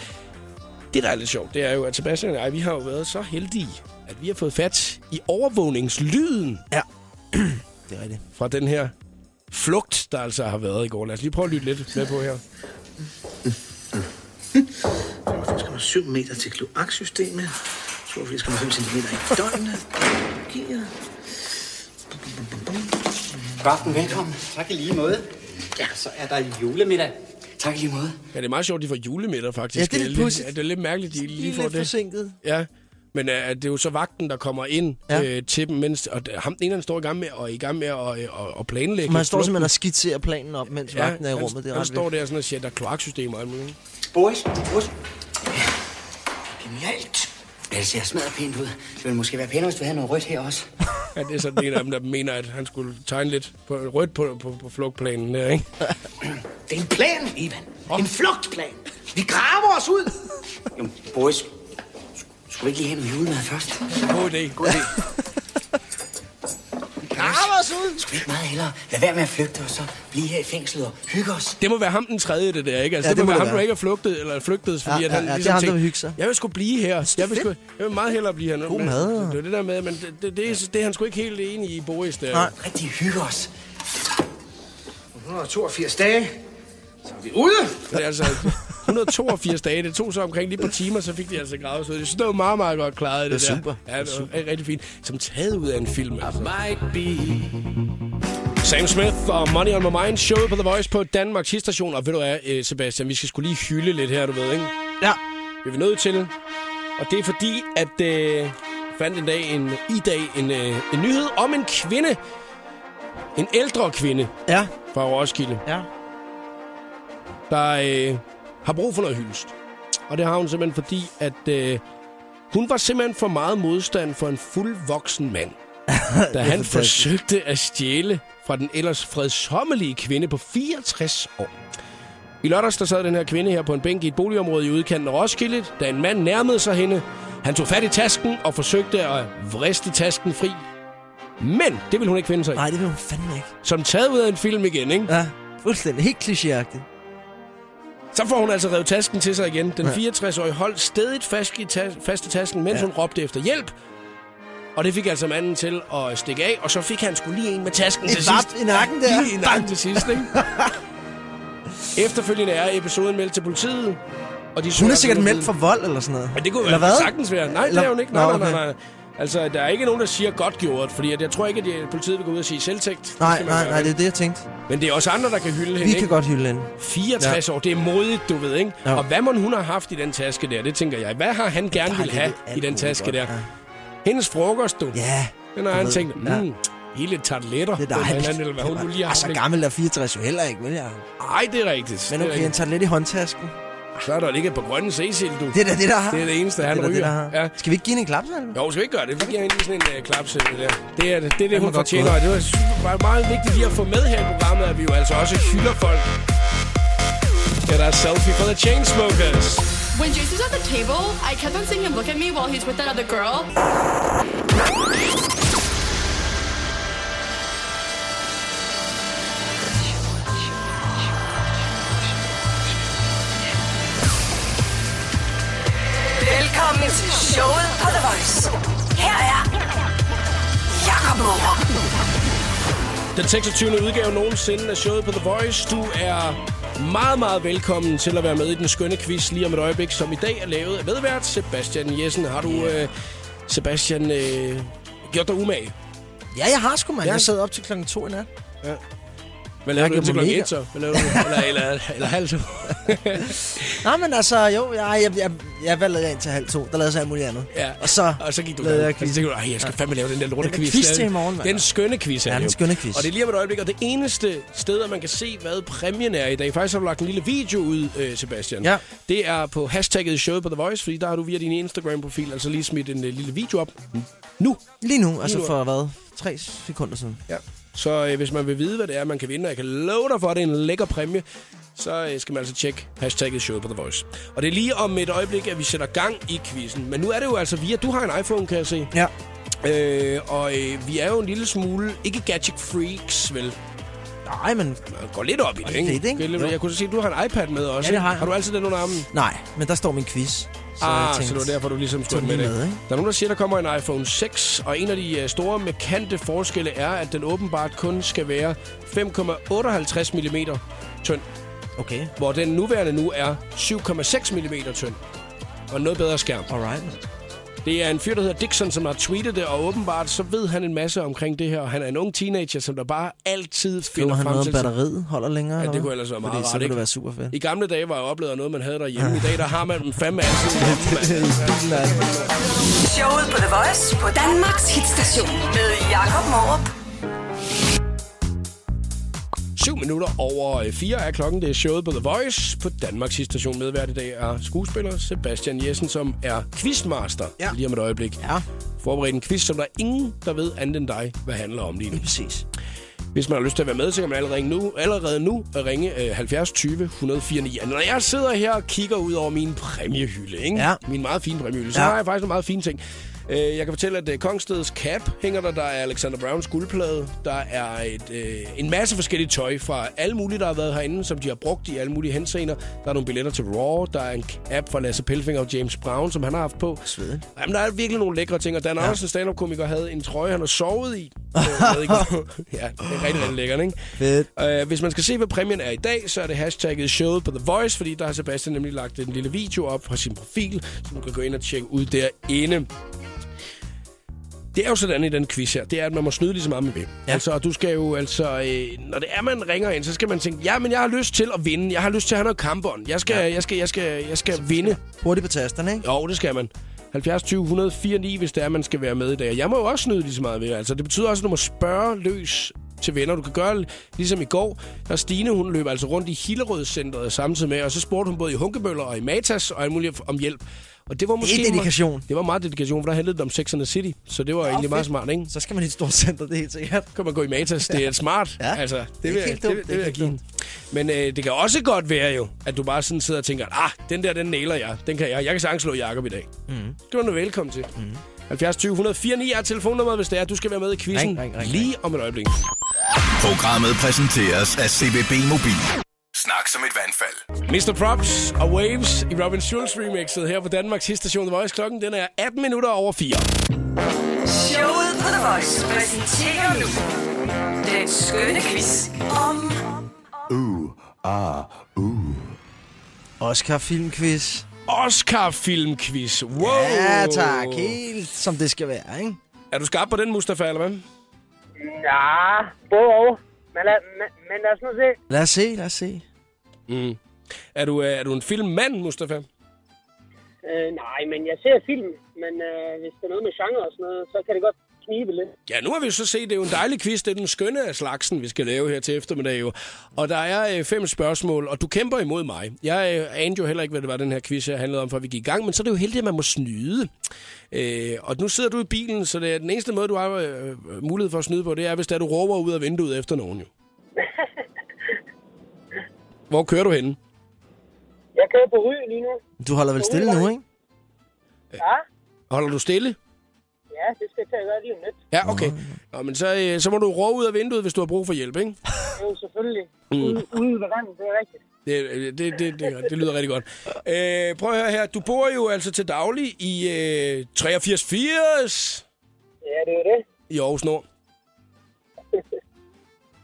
S1: Det, der er lidt sjovt, det er jo, at Sebastian og jeg, vi har jo været så heldige, at vi har fået fat i overvågningslyden
S2: Det er rigtigt.
S1: fra den her flugt, der altså har været i går. Lad os lige prøve at lytte lidt med på her.
S9: Der skal man 7 meter til kloaksystemet. 82,5 cm i døgnet. Gear.
S10: God aften, velkommen. Tak i lige måde. Ja, så er der julemiddag. Tak i lige måde.
S1: Ja, det er meget sjovt, de får julemiddag, faktisk.
S2: Ja, det er lidt pudsigt.
S1: ja, det er lidt mærkeligt, de lige får
S2: lidt
S1: det.
S2: forsinket.
S1: Ja, men øh, det er jo så vagten, der kommer ind ja.
S2: Ja.
S1: øh, til dem, mens, og d- ham den ene han står i gang med, og i gang med at, øh, at, at planlægge.
S2: Men han står simpelthen og skitserer planen op, mens ja, vagten er i
S1: han,
S2: rummet. Det er
S1: han
S2: ret
S1: står
S2: vildt.
S1: der sådan og siger, der er kloaksystemer og alt muligt.
S10: Boris, Boris. Genialt. Ja, det ser smadret pænt ud. Det ville måske være pænere, hvis du havde noget rødt her også.
S1: Ja, det er sådan en af dem, der mener, at han skulle tegne lidt på, rødt på, på, på flugtplanen der, ikke?
S10: Det er en plan, Ivan. En flugtplan. Vi graver os ud. Jo, Boris, skulle vi ikke lige have noget julemad først?
S1: God idé.
S10: God idé. Graver os ud. Skulle vi ikke meget hellere lade være med at flygte, og så blive her i fængslet og hygge os?
S1: Det må være ham den tredje, det der, ikke? Altså, ja,
S2: Ja,
S1: det, må
S2: det må
S1: være
S2: det
S1: ham, der
S2: være.
S1: ikke er flugtet, eller flygtet, fordi
S2: Ja,
S1: at
S2: ja,
S1: han
S2: ja, det er
S1: ligesom
S2: ham, der
S1: tænkte,
S2: vil hygge sig.
S1: Jeg vil sgu blive her. Jeg vil, sgu, jeg vil meget hellere blive her.
S2: God
S1: Men
S2: mad.
S1: Det er det der med, men det, det, det, er, det er han sgu ikke helt enig i, Boris. Der.
S2: Nej.
S10: rigtig hygge os. 182 dage, så er vi ude.
S1: Det er altså 182 dage. Det tog så omkring lige på timer, så fik de altså gravet sig ud. Jeg synes, det var meget, meget godt klaret, det,
S2: Det
S1: der.
S2: er super.
S1: Ja, det var rigtig fint. Som taget ud af en film. Altså. Sam Smith og Money on My Mind, showet på The Voice på Danmarks Hitstation. Og ved du hvad, øh, Sebastian, vi skal skulle lige hylde lidt her, du ved, ikke?
S2: Ja.
S1: Det er vi nødt til. Og det er fordi, at øh, fandt en dag en, i dag en, øh, en nyhed om en kvinde. En ældre kvinde
S2: Ja.
S1: fra Roskilde,
S2: Ja.
S1: der øh, har brug for noget hyldest. Og det har hun simpelthen fordi, at øh, hun var simpelthen for meget modstand for en fuldvoksen mand. da han
S2: fantastisk.
S1: forsøgte at stjæle fra den ellers fredsommelige kvinde på 64 år. I lørdags der sad den her kvinde her på en bænk i et boligområde i udkanten af Roskilde, da en mand nærmede sig hende. Han tog fat i tasken og forsøgte at vriste tasken fri. Men det ville hun ikke finde sig i.
S2: Nej, det vil hun fandme ikke.
S1: Som taget ud af en film igen, ikke?
S2: Ja. Fuldstændig. Helt klichéagtigt.
S1: Så får hun altså revet tasken til sig igen. Den 64-årige holdt stedigt fast i, ta- fast i tasken, mens ja.
S2: Ja.
S1: hun råbte efter hjælp. Og det fik altså manden til at stikke af, og så fik han skulle lige en med tasken
S2: Et
S1: til
S2: vap
S1: sidst.
S2: i nakken der.
S1: Lige i nakken til sidst, ikke? Efterfølgende er episoden meldt til politiet. Og de
S2: Hun
S1: søger
S2: er sikkert
S1: altså
S2: meldt
S1: nu-
S2: for vold eller sådan noget.
S1: Men det kunne
S2: eller
S1: være
S2: hvad?
S1: sagtens være. Nej, det
S2: Eller-
S1: er hun ikke. Nej,
S2: Nå,
S1: nej, nej,
S2: okay.
S1: nej. Altså, der er ikke nogen, der siger godt gjort, fordi at jeg tror ikke, at de- politiet vil gå ud og sige selvtægt. Det
S2: Nej,
S1: skal man
S2: nej,
S1: gøre,
S2: nej, det
S1: ikke?
S2: er det, jeg tænkte.
S1: Men det er også andre, der kan hylde hende,
S2: Vi
S1: ikke?
S2: kan godt hylde hende.
S1: 64 ja. år, det er modigt, du ved, ikke? Ja.
S2: Ja.
S1: Og hvad man hun har haft i den taske der, det tænker jeg. Hvad har han gerne
S2: Der
S1: vil
S2: er lidt
S1: have
S2: alt
S1: i den
S2: muligt
S1: taske
S2: godt,
S1: der?
S2: ja.
S1: Hendes frokost, du.
S2: Ja.
S1: Den har
S2: du
S1: han
S2: ved,
S1: tænkt,
S2: ja.
S1: mm, hele tartletter.
S2: Det er
S1: eller
S2: dejligt.
S1: andet, Eller hvad hun nu lige har.
S2: Ah, så
S1: haft,
S2: gammel er 64 jo heller ikke, vel jeg?
S1: ikke? Ej, det er rigtigt.
S2: Men
S1: det er
S2: okay, han
S1: rigtigt.
S2: tager lidt i håndtasken.
S1: Så er der ligget på grønne Cecil, du.
S2: Det er da det, der har.
S1: Det er det eneste, han
S2: det er da det,
S1: ryger.
S2: der har.
S1: Ja.
S2: Skal vi ikke give hende en klapsalve?
S1: Jo, skal vi ikke gøre det? Vi giver hende lige sådan en uh, klapse. Det, der. det er det, det, er det
S2: Den
S1: hun
S2: var godt
S1: fortjener. Og
S2: gået.
S1: det var super, var meget vigtigt lige at få med her i programmet, at vi jo altså også hylder folk. Ja, der er selfie for The Chainsmokers.
S7: When Jason's at the table, I kept on seeing him look at me while he's with that other girl.
S3: Velkommen til showet på The Voice. Her er Jakob Morup.
S1: Den 26. udgave nogensinde af showet på The Voice. Du er meget, meget velkommen til at være med i den skønne quiz lige om et øjeblik, som i dag er lavet af medvært Sebastian Jessen. Har du, øh, Sebastian, øh, gjort dig umage?
S2: Ja, jeg har sgu, mand.
S1: Ja.
S2: Jeg sad op til klokken to i nat.
S1: Hvad laver
S2: Jeg
S1: du til
S2: gjorde mig
S1: klokken
S2: mega.
S1: 1 så? Hvad laver du? Eller, eller, eller halv to?
S2: Nej, men altså, jo, jeg, jeg, jeg, jeg valgte jeg ind til halv to. Der lavede jeg så alt muligt andet.
S1: Ja.
S2: Og så...
S1: Og så gik du
S2: lavede
S1: derud.
S2: jeg
S1: Og så
S2: quiz.
S1: tænkte du, "Ej, jeg skal fandme lave den der lorte
S2: Den der
S1: quiz.
S2: quiz
S1: der."
S2: til i morgen, mand.
S1: Den skønne quiz er
S2: Ja,
S1: det
S2: den
S1: jo.
S2: skønne quiz.
S1: Og det er lige om et øjeblik, og det eneste sted, at man kan se, hvad præmien er i dag. Faktisk har du lagt en lille video ud, øh, Sebastian.
S2: Ja.
S1: Det er på hashtagget showet på The Voice, fordi der har du via din Instagram-profil altså lige smidt en øh, lille video op. Nu.
S2: Lige nu, altså
S1: nu.
S2: for hvad? Tre sekunder siden.
S1: Ja. Så øh, hvis man vil vide, hvad det er, man kan vinde, og jeg kan love dig for, at det er en lækker præmie, så øh, skal man altså tjekke hashtagget show på The Voice. Og det er lige om et øjeblik, at vi sætter gang i quizzen. Men nu er det jo altså via... Du har en iPhone, kan jeg se.
S2: Ja.
S1: Øh, og øh, vi er jo en lille smule... Ikke gadget freaks, vel?
S2: Nej, men
S1: Man går lidt op i det,
S2: det er
S1: ikke?
S2: det, ikke?
S1: Lidt-
S2: Jo.
S1: Jeg kunne så se, at du har en iPad med også.
S2: Ja, det
S1: ikke?
S2: har jeg.
S1: Har du altid den under armen?
S2: nej, men der står min quiz. Så
S1: Så ah, så det var derfor, du ligesom skulle
S2: tog
S1: med,
S2: den
S1: med
S2: lige
S1: det.
S2: med,
S1: Ikke?
S2: ikke?
S1: Der er nogen, der siger, der kommer en iPhone 6, og en af de øh, store markante forskelle er, at den åbenbart kun skal være 5,58 mm tynd,
S2: Okay,
S1: hvor den nuværende nu er 7,6 mm tynd og en noget bedre skærm.
S2: alright.
S1: Det er en fyr, der hedder Dixon, som har tweetet det, og åbenbart så ved han en masse omkring det her. Og han er en ung teenager, som der bare altid
S2: Skriver
S1: finder
S2: han
S1: frem
S2: noget om
S1: til... sig-
S2: batteriet holder længere?
S1: Ja,
S2: eller
S1: det kunne
S2: hvad?
S1: ellers være
S2: Fordi
S1: meget
S2: så
S1: rart,
S2: ville
S1: ikke?
S2: det være super fedt.
S1: I gamle dage var jeg oplevet noget, man havde derhjemme. I dag, der har man den fandme altid. i lommen, mand.
S3: Showet på The Voice på Danmarks hitstation med Jakob Morup.
S1: 7 minutter over 4 er klokken. Det er showet på The Voice på Danmarks station. Medvært i dag er skuespiller Sebastian Jessen, som er quizmaster ja.
S2: Ja.
S1: lige om et øjeblik.
S2: Ja,
S1: Forberedt en quiz, som der er ingen, der ved andet end dig, hvad handler om lige nu.
S2: lige præcis.
S1: Hvis man har lyst til at være med, så kan man allerede ringe nu, allerede nu og ringe øh, 70 20 104 9. Når jeg sidder her og kigger ud over min præmiehylde, ikke?
S2: Ja.
S1: min meget fine præmiehylde, så
S2: Ja.
S1: har jeg faktisk nogle meget fine ting. Øh, jeg kan fortælle, at øh, Kongstedets cap hænger der, der er Alexander Browns guldplade, der er et, øh, en masse forskellige tøj fra alle mulige, der har været herinde, som de har brugt i alle mulige henseender. Der er nogle billetter til Raw, der er en app fra Lasse Pelfinger og James Brown, som han har haft på.
S2: Svedigt.
S1: Jamen, der er virkelig nogle lækre ting, og Dan ja. Andersen, stand-up-komiker, havde en trøje, han har sovet i. Øh, jeg ved ikke, hvor- ja, det er rigtig, rigtig lækkert, ikke?
S2: Fedt.
S1: Uh, hvis man skal se, hvad præmien er i dag, så er det hashtagget showet på The Voice, fordi der har Sebastian nemlig lagt en lille video op fra sin profil, så du kan gå ind og tjekke ud derinde. Det er jo sådan i den quiz her, det er, at man må snyde lige så meget, man vil. Ja.
S2: Ja.
S1: Altså, og du skal jo, altså, øh, når det er, man ringer ind, så skal man tænke, ja, men jeg har lyst til at vinde, jeg har lyst til at have noget kampbånd, jeg skal, ja. jeg skal, jeg skal, jeg skal vinde.
S2: Hurtigt på tasterne, ikke?
S1: Jo, det skal man. 70 20 104 9, hvis det er, man skal være med i dag. Jeg må jo også nyde lige så meget ved det. Altså, det betyder også, at du må spørge løs til venner. Du kan gøre ligesom i går, der Stine, hun løb altså rundt i Hillerød-centret samtidig med, og så spurgte hun både i Hunkebøller og i Matas og alt muligt om hjælp. Og det var måske...
S2: dedikation.
S1: Det var meget dedikation, for der handlede det om Sex and the City, så det var egentlig meget
S2: fedt.
S1: smart, ikke?
S2: Så skal man i et stort center, det er helt sikkert.
S1: kan man gå i Matas. Det er smart.
S2: Ja,
S1: altså, det,
S2: det er
S1: vil,
S2: ikke
S1: jeg-
S2: helt
S1: det,
S2: dumt.
S1: vil- det,
S2: Det er
S1: vil jeg
S2: ikke
S1: give. Men øh, det kan også godt være jo, at du bare sådan sidder og tænker, ah, den der, den næler jeg. Den kan jeg. Jeg kan sagtens slå Jacob i dag. Mm.
S2: Mhm.
S1: Det var du velkommen til. Mm. 70 20 104 9 er telefonnummeret, hvis det er, at du skal være med i quizzen
S2: Ring, ring, ring,
S1: lige om et øjeblik.
S4: Programmet præsenteres af CBB Mobil. Snak som et vandfald.
S1: Mr. Props og Waves i Robin Schulz remixet her på Danmarks Hitstation The Voice. Klokken den er 18 minutter over 4.
S3: Showet på The Voice præsenterer nu den skønne quiz om
S2: Oscar Filmquiz.
S1: Oscar filmquiz. Wow!
S2: Ja, tak. Helt som det skal være, ikke?
S1: Er du skarp på den, Mustafa, eller hvad?
S11: Ja, både og. Men lad, men, men lad os nu se.
S2: Lad os se, lad os se.
S1: Er du, øh, er du en filmmand, Mustafa?
S11: Øh, nej, men jeg ser film. Men øh, hvis det er noget med genre og sådan noget, så kan det godt knibe lidt.
S1: Ja, nu har vi jo så set, det er jo en dejlig quiz. Det er den skønne af slagsen, vi skal lave her til eftermiddag jo. Og der er øh, fem spørgsmål, og du kæmper imod mig. Jeg øh, anede jo heller ikke, hvad det var, den her quiz her handlede om, før vi gik i gang. Men så er det jo heldigt, at man må snyde. Øh, og nu sidder du i bilen, så det er den eneste måde, du har øh, mulighed for at snyde på, det er, hvis det er, du råber ud af vinduet efter nogen jo. Hvor kører du henne?
S11: Jeg kører på Ry lige nu.
S2: Du holder vel stille nu, ikke?
S11: Ja,
S1: Holder du stille?
S11: ja det skal jeg tage at gøre lige om lidt.
S1: Ja, okay. Nå, men så, øh, så må du råbe ud af vinduet, hvis du har brug for hjælp, ikke?
S11: Det er jo selvfølgelig ude, ude ved gangen, det er rigtigt.
S1: Det, øh, det, det, det, det lyder rigtig godt. Øh, prøv at høre her. Du bor jo altså til daglig i øh, 8380
S11: Ja, det er jo det.
S1: i Aarhus Nord.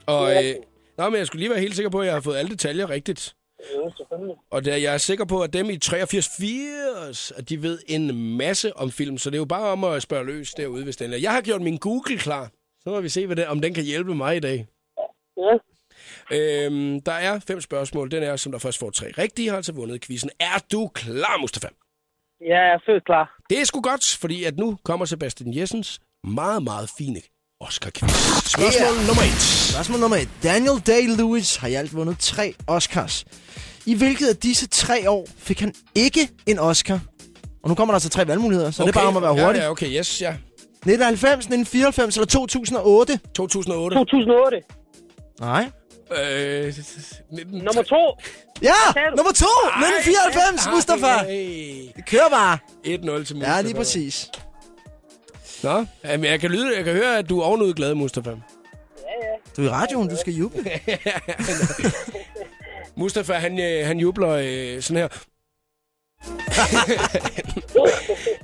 S1: Og, øh, nej, men jeg skulle lige være helt sikker på, at jeg har fået alle detaljer rigtigt.
S11: Det er jo selvfølgelig.
S1: Og da jeg er sikker på, at dem i 8380, at de ved en masse om film, så det er jo bare om at spørge løs derude, hvis den er. Jeg har gjort min Google klar. Så må vi se, hvad det, om den kan hjælpe mig i dag.
S11: Ja.
S1: Øhm, der er fem spørgsmål. Den er, som der først får tre rigtige, har altså vundet quizzen. Er du klar, Mustafa?
S11: Jeg er født klar.
S1: Det er sgu godt, fordi at nu kommer Sebastian Jessens meget, meget fine Oscar-quiz. Spørgsmål yeah. nummer et.
S2: Spørgsmål nummer 1. Daniel Day-Lewis har i alt vundet tre Oscars. I hvilket af disse tre år fik han ikke en Oscar? Og nu kommer der altså tre valgmuligheder, så okay. det er bare om at være hurtig.
S1: Ja, ja, okay, yes, ja.
S2: 1990, 1994 eller 2008?
S1: 2008.
S11: 2008.
S2: Nej.
S1: Øh,
S11: Nummer to.
S2: Ja,
S11: Sagde du?
S2: nummer to!
S11: Ej,
S2: 1994,
S11: ej,
S2: Mustafa! Det kører bare.
S1: 1-0 til Mustafa.
S2: Ja, lige præcis.
S1: Nå, jamen, jeg, kan lyde, jeg kan høre, at du er ovenud glad, Mustafa.
S2: Du er i radioen, du skal juble.
S1: Mustafa, han, øh, han jubler øh, sådan her.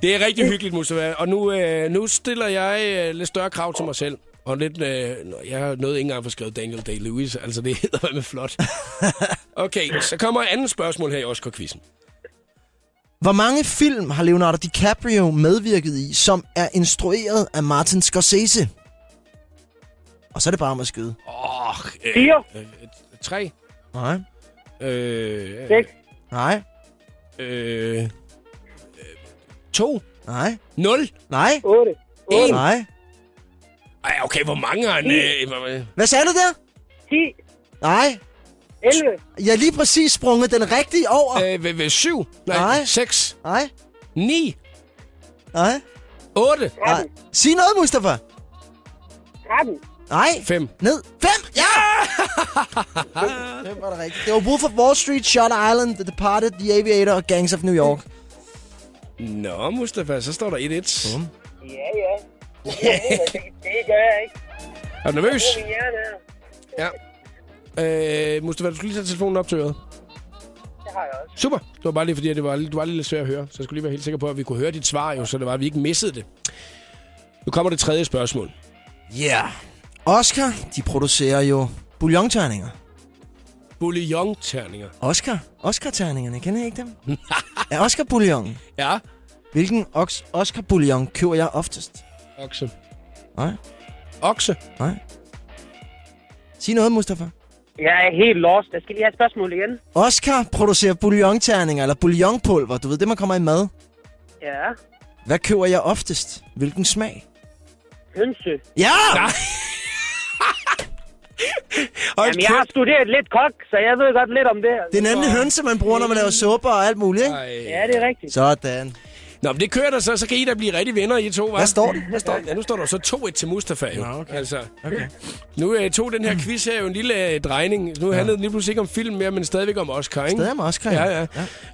S1: det er rigtig hyggeligt, Mustafa. Og nu, øh, nu stiller jeg øh, lidt større krav til mig selv. Og lidt, øh, nå, jeg har noget ikke engang at få skrevet Daniel Day-Lewis. Altså, det hedder med flot. Okay, så kommer andet spørgsmål her i Oscar-quizzen.
S2: Hvor mange film har Leonardo DiCaprio medvirket i, som er instrueret af Martin Scorsese? Og så er det bare om at skyde.
S1: Åh, øh,
S11: Fire.
S1: Øh, tre.
S2: Nej.
S1: Øh,
S11: Seks.
S2: Nej.
S1: øh, øh, to.
S2: Nej.
S1: Nul.
S2: Nej.
S11: Otte.
S1: En.
S2: Nej.
S1: Ej, okay, hvor mange har han... Øh,
S2: Hvad sagde du der?
S11: Ti.
S2: Nej.
S11: 11.
S2: Jeg er lige præcis sprunget den rigtige over.
S1: øh, ved, ved syv. Nej.
S2: Nej.
S1: Seks.
S2: Nej.
S1: Ni.
S2: Nej.
S1: 8.
S2: Nej. Sig noget, Mustafa.
S11: 13.
S2: Nej.
S1: 5.
S2: Ned. Fem! Ja! det var da rigtigt. Det var brug for Wall Street, Shot Island, The Departed, The Aviator og Gangs of New York.
S1: Nå, Mustafa, så står der 1-1.
S2: Bum.
S11: Ja, ja. Det, det gør jeg ikke.
S1: Er du nervøs?
S11: Min hjerne er.
S1: Ja. Øh, Mustafa, du skulle lige tage telefonen op til øret.
S11: Det har jeg også.
S1: Super. Det var bare lige fordi, at det var, du var lidt svær at høre. Så jeg skulle lige være helt sikker på, at vi kunne høre dit svar, jo, så det var, at vi ikke missede det. Nu kommer det tredje spørgsmål.
S2: Yeah. Oscar, de producerer jo bouillonterninger.
S1: Bouillon-terninger.
S2: Oscar? Oscar-terningerne, kender I ikke dem? er Oscar bouillon?
S1: Ja.
S2: Hvilken oks- Oscar bouillon køber jeg oftest?
S1: Okse.
S2: Nej,
S1: Okse.
S2: nej. Sig noget, Mustafa.
S11: Jeg er helt lost. Jeg skal lige have et spørgsmål igen.
S2: Oscar producerer bouillonterninger, eller bouillonpulver. Du ved, det man kommer i mad.
S11: Ja.
S2: Hvad køber jeg oftest? Hvilken smag?
S11: Hønse.
S2: Ja!
S1: Hold
S11: Jamen, jeg har
S1: kæft.
S11: studeret lidt kok, så jeg ved godt lidt om det.
S2: Det er nemlig hønse, man bruger, når man laver supper og alt muligt, ikke?
S1: Ej.
S11: Ja, det er rigtigt.
S2: Sådan.
S1: Nå, men det kører der så, så kan I da blive rigtig venner, I to, hva'?
S2: Hvad står det?
S1: Hvad står det? Ja, nu står der så 2-1 til Mustafa, jo.
S2: Nå, okay.
S1: Altså,
S2: Okay.
S1: nu øh, tog den her quiz her jo en lille øh, drejning. Nu handlede den lige pludselig ikke om film mere, men stadigvæk om Oscar, ikke?
S2: Stadig med Oscar.
S1: Ja, ja.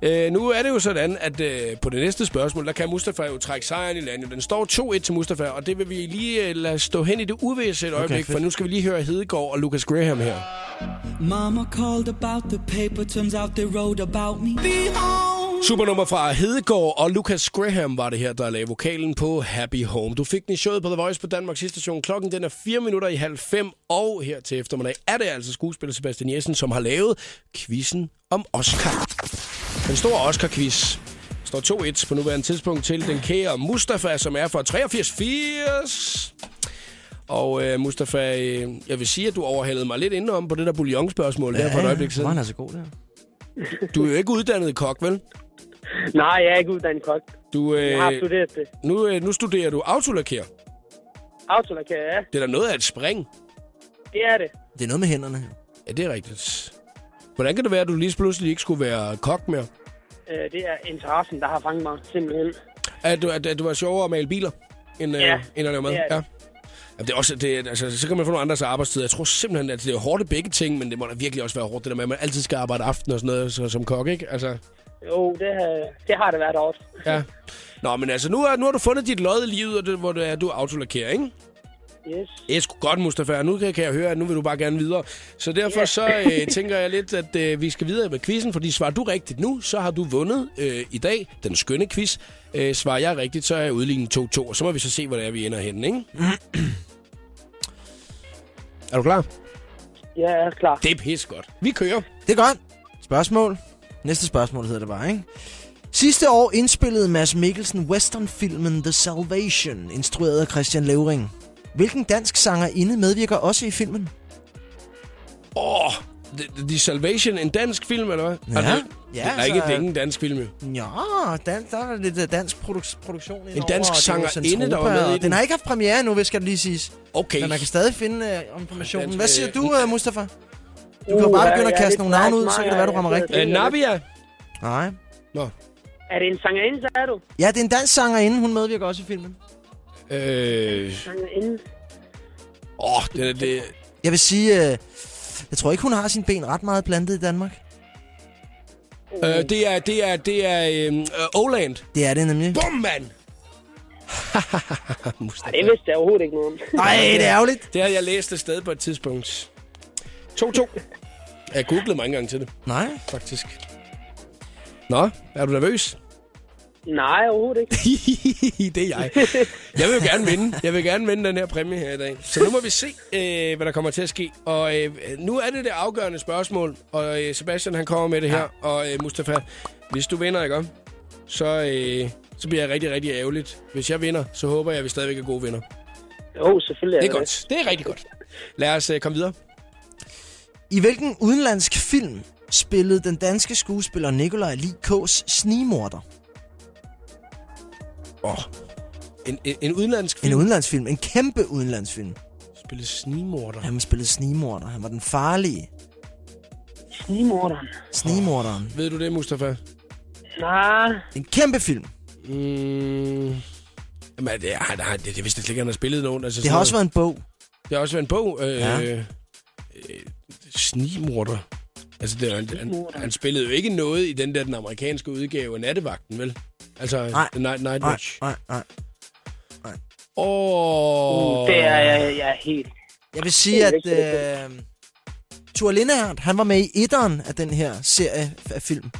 S1: ja. Øh, nu er det jo sådan, at øh, på det næste spørgsmål, der kan Mustafa jo trække sejren i landet. Den står 2-1 til Mustafa, og det vil vi lige øh, lade stå hen i det uvisse et øjeblik, okay,
S2: fedt.
S1: for nu skal vi lige høre Hedegaard og Lucas Graham her.
S12: Mama called about the paper, turns out they wrote about me. Be home.
S1: Supernummer fra Hedegaard og Lucas Graham var det her, der lagde vokalen på Happy Home. Du fik den i showet på The Voice på Danmarks sidste station. Klokken den er 4 minutter i halv fem, og her til eftermiddag er det altså skuespiller Sebastian Jessen, som har lavet quizzen om Oscar. Den store Oscar-quiz står 2-1 på nuværende tidspunkt til den kære Mustafa, som er fra 83-80. Og øh, Mustafa, øh, jeg vil sige, at du overhalede mig lidt indenom på det der bouillon-spørgsmål ja, her for et øjeblik
S2: Var han
S1: siden.
S2: altså god der?
S1: Du er jo ikke uddannet kok, vel?
S11: Nej, jeg er ikke uddannet kok.
S1: Du, øh,
S11: Jeg har studeret det.
S1: Nu, øh, nu studerer du autolakker.
S11: Autolakker, ja.
S1: Det er da noget af et spring.
S11: Det er det.
S2: Det er noget med hænderne.
S1: Ja, det er rigtigt. Hvordan kan det være, at du lige pludselig ikke skulle være kok mere?
S11: Øh, Det er interessen, der har fanget mig, simpelthen.
S1: At du, at, at du var sjovere at male biler, end, ja,
S11: Ja,
S1: øh, end at lave mad?
S11: det er det.
S1: ja. Jamen, det er også, det, er- altså, så kan man få nogle andres arbejdstid. Jeg tror simpelthen, at det er hårdt i begge ting, men det må da virkelig også være hårdt, det der med, at man altid skal arbejde aften og sådan noget så, som kok, ikke? Altså,
S11: Jo, det har, Øh, det, har det været også.
S1: ja. Nå, men altså, nu, er, nu har du fundet dit lod i livet, og det, hvor det er, du autolakerer, ikke?
S11: Yes.
S1: Det er sgu godt, Mustafa. Nu kan kan jeg høre, at nu vil du bare gerne videre. Så derfor så øh, tænker jeg lidt, at øh, vi skal videre med quizzen, fordi svarer du rigtigt nu, så har du vundet øh, i dag den skønne quiz. Øh, svarer jeg rigtigt, så er jeg udlignet 2-2, og så må vi så se, hvor det er, vi ender henne, ikke? er du klar?
S11: Jeg er klar.
S1: Det er pis godt. Vi kører.
S2: Det er godt. Spørgsmål. Næste spørgsmål hedder det bare, ikke? Sidste år indspillede Mads Mikkelsen westernfilmen The Salvation, instrueret af Christian Levering. Hvilken dansk sangerinde medvirker også i filmen?
S1: Åh, oh, The, The Salvation, en dansk film, eller hvad?
S2: Ja.
S1: Er det, ja,
S2: Ja,
S1: det er
S2: altså-
S1: ikke det er ikke en dansk film, jo.
S2: Ja, dan- der er lidt øh, dansk produk- produktion indover,
S1: dansk
S2: og det er
S1: sangerinde,
S2: Santropa,
S1: der var med i
S2: og
S1: den.
S2: Den har ikke haft premiere endnu, hvis skal det lige siges.
S1: Okay. Øh,
S2: Men man kan stadig finde uh, informationen.
S1: Dansk,
S2: Hvad siger
S1: øh,
S2: du, uh, Mustafa? Du kan jo bare begynde at kaste nogle navne ud, så kan det være, du rammer rigtigt.
S1: Øh, Nabia?
S2: Nej.
S1: Nå.
S11: Er det en sangerinde, så er du?
S2: Ja, det er en dansk sangerinde, hun medvirker også i filmen.
S1: Øh,
S11: Inden.
S1: åh, det, det,
S2: Jeg vil sige, øh, jeg tror ikke, hun har sine ben ret meget plantet i Danmark.
S1: øh, det er, det er, det er øhm, øh, Oland.
S2: Det er det nemlig.
S1: Bum, mand!
S11: Ej, det vidste jeg overhovedet ikke noget om.
S2: Nej, det er ærgerligt.
S1: Det har jeg læst et sted på et tidspunkt. 2-2. Jeg googlede mange gange til det,
S2: Nej.
S1: faktisk. Nå, er du nervøs?
S11: Nej, overhovedet ikke.
S1: det er jeg. Jeg vil jo gerne vinde. Jeg vil gerne vinde den her præmie her i dag. Så nu må vi se, øh, hvad der kommer til at ske. Og øh, nu er det det afgørende spørgsmål. Og øh, Sebastian, han kommer med det her. Og øh, Mustafa, hvis du vinder, ikke om? Så, øh, så bliver jeg rigtig, rigtig ærgerligt. Hvis jeg vinder, så håber jeg, at vi stadigvæk er gode venner.
S11: Jo, selvfølgelig er
S1: Det er godt. Det er rigtig godt. Lad os øh, komme videre.
S2: I hvilken udenlandsk film spillede den danske skuespiller Nikolaj Likås snigmorder?
S1: Oh. En, en, en udenlandsk
S2: En
S1: film
S2: udenlandsfilm. En kæmpe udenlandsfilm.
S1: spillede snigmorder.
S2: Han spillede snigmorder. Han var den farlige
S11: Snimorderen.
S2: snigmorderen.
S1: Ved du det, Mustafa?
S11: Nej,
S2: En kæmpe film.
S1: Mm. Jamen, det, ej, nej, det, det vidste jeg slet ikke, han har spillet nogen. Altså,
S2: Det
S1: sådan
S2: har
S1: noget.
S2: også været en bog.
S1: Det har også været en bog. Øh,
S2: Ja.
S1: ja. øh, snigmorder. Altså, det, han, han,
S11: Snigmorder.
S1: han spillede jo ikke noget i den der den amerikanske udgave af Nattevagten, vel? Altså,
S2: Nej.
S1: The Night, Night
S2: Nej,
S1: Watch.
S2: nej, nej.
S1: Åh,
S11: det er jeg, jeg er helt...
S2: Jeg vil sige,
S11: Det er
S2: at
S11: ikke
S2: øh, Thor Lindehardt, han var med i etteren af den her serie af film.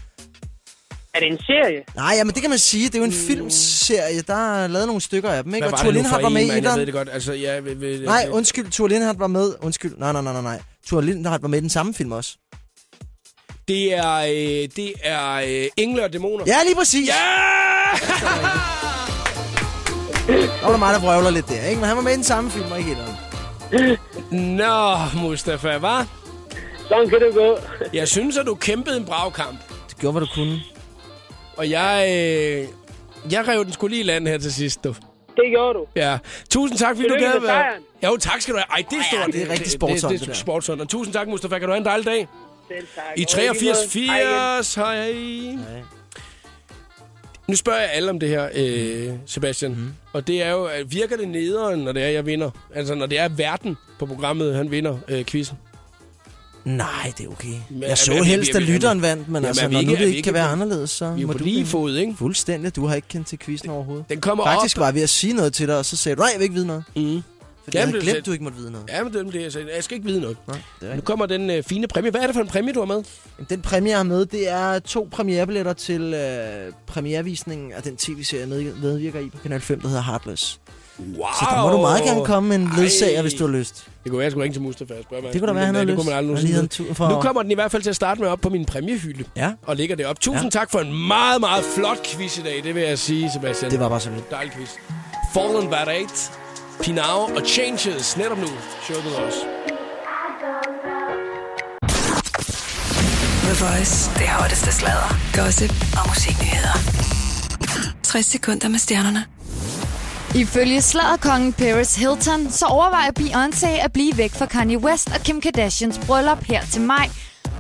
S11: Er det en serie? Mm.
S2: Nej, jamen det kan man sige. Det er jo en filmserie. Der er lavet nogle stykker af dem, ikke?
S1: Hvad var
S2: Og Thor
S1: det nu for
S2: Lindehardt var
S1: en,
S2: med i
S1: mand? Jeg ved
S2: etteren.
S1: det godt. Altså, jeg, vil, vil,
S2: Nej,
S1: jeg-
S2: undskyld. Thor Lindehardt var med. Undskyld. Nej, nej, nej, nej, nej. Thor Lindehardt var med i den samme film også.
S1: Det er, øh, det er øh, engle og dæmoner.
S2: Ja, lige præcis.
S1: Ja!
S2: Der var der mig, der vrøvler lidt der, ikke? Men han var med i den samme film, og ikke etteren.
S1: Nå, Mustafa, hva'?
S11: Sådan kan det gå.
S1: Jeg synes, at du kæmpede en brav kamp.
S2: Det gjorde, hvad du kunne.
S1: Og jeg... Øh, jeg rev den skulle lige i land her til sidst, du.
S11: Det gjorde du.
S1: Ja. Tusind tak, fordi du
S11: Tillykke
S1: gad at
S11: med
S1: være...
S11: sejren.
S1: Jo, tak skal du have. Ej, det er stort.
S2: det er rigtig
S1: Det,
S2: sportsånd,
S1: det,
S2: det
S1: det
S2: der.
S1: er sportsånd. Og tusind tak, Mustafa. Kan du have en dejlig dag?
S11: Selv tak.
S1: I
S11: Og lige måde.
S1: 83,
S11: Hej igen.
S1: 80. Hej. Nu spørger jeg alle om det her, øh, Sebastian.
S2: Mhm.
S1: Mm. Og det er jo, at virker det nederen, når det er, jeg vinder? Altså, når det er verden på programmet, han vinder øh, quizzen.
S2: Nej, det er okay.
S1: er
S2: Jeg så
S1: vi- er vi-
S2: helst,
S1: er
S2: at
S1: vi- er vi-
S2: lytteren vandt, men
S1: Jamen,
S2: altså,
S1: er vi
S2: når
S1: ikke-
S2: nu
S1: er vi
S2: det ikke
S1: ikke
S2: kan være
S1: på-
S2: anderledes, så
S1: Vi er
S2: må
S1: på
S2: du...
S1: lige fod, ikke?
S2: Fuldstændig. Du har ikke kendt til quizzen overhovedet.
S1: Den kommer op.
S2: Faktisk var jeg ved at sige noget til dig, og så sagde du, nej, jeg vil ikke vide noget.
S1: Mm.
S2: Fordi jeg
S1: Jamen,
S2: havde
S1: det er
S2: glemt,
S1: fedt.
S2: du ikke måtte vide noget.
S1: Ja, men det er det, jeg sagde. Jeg skal ikke vide noget.
S2: Nå, det er
S1: Nu
S2: rigtigt.
S1: kommer den øh, fine præmie. Hvad er det for en præmie, du har med?
S2: Jamen, Den præmie, jeg har med, det er to premierebilletter til øh, premierevisningen af den tv-serie, jeg med, medvirker i på Kanal 5, der hedder Heartless.
S1: Wow.
S2: Så der må du meget gerne komme med en ledsager, hvis du har lyst.
S1: Det kunne være, jeg skulle ringe til Mustafa og spørge mig.
S2: Det kunne da være, han havde
S1: det
S2: lyst.
S1: kunne man aldrig
S2: Han
S1: nogensinde
S2: lige havde
S1: vide.
S2: en tur for-
S1: Nu kommer den i hvert fald til at starte med op på min præmiehylde.
S2: Ja.
S1: Og ligger det op. Tusind ja. tak for en meget, meget flot quiz i dag. Det vil jeg sige, Sebastian.
S2: Det var bare sådan lidt.
S1: Dejlig quiz. Fallen Bad 8, Pinau og Changes. Netop nu. Show the loss.
S3: The Voice. Det hotteste sladder, gossip og musiknyheder. 60 sekunder med stjernerne.
S8: Ifølge sladderkongen Paris Hilton, så overvejer Beyoncé at blive væk fra Kanye West og Kim Kardashians bryllup her til maj.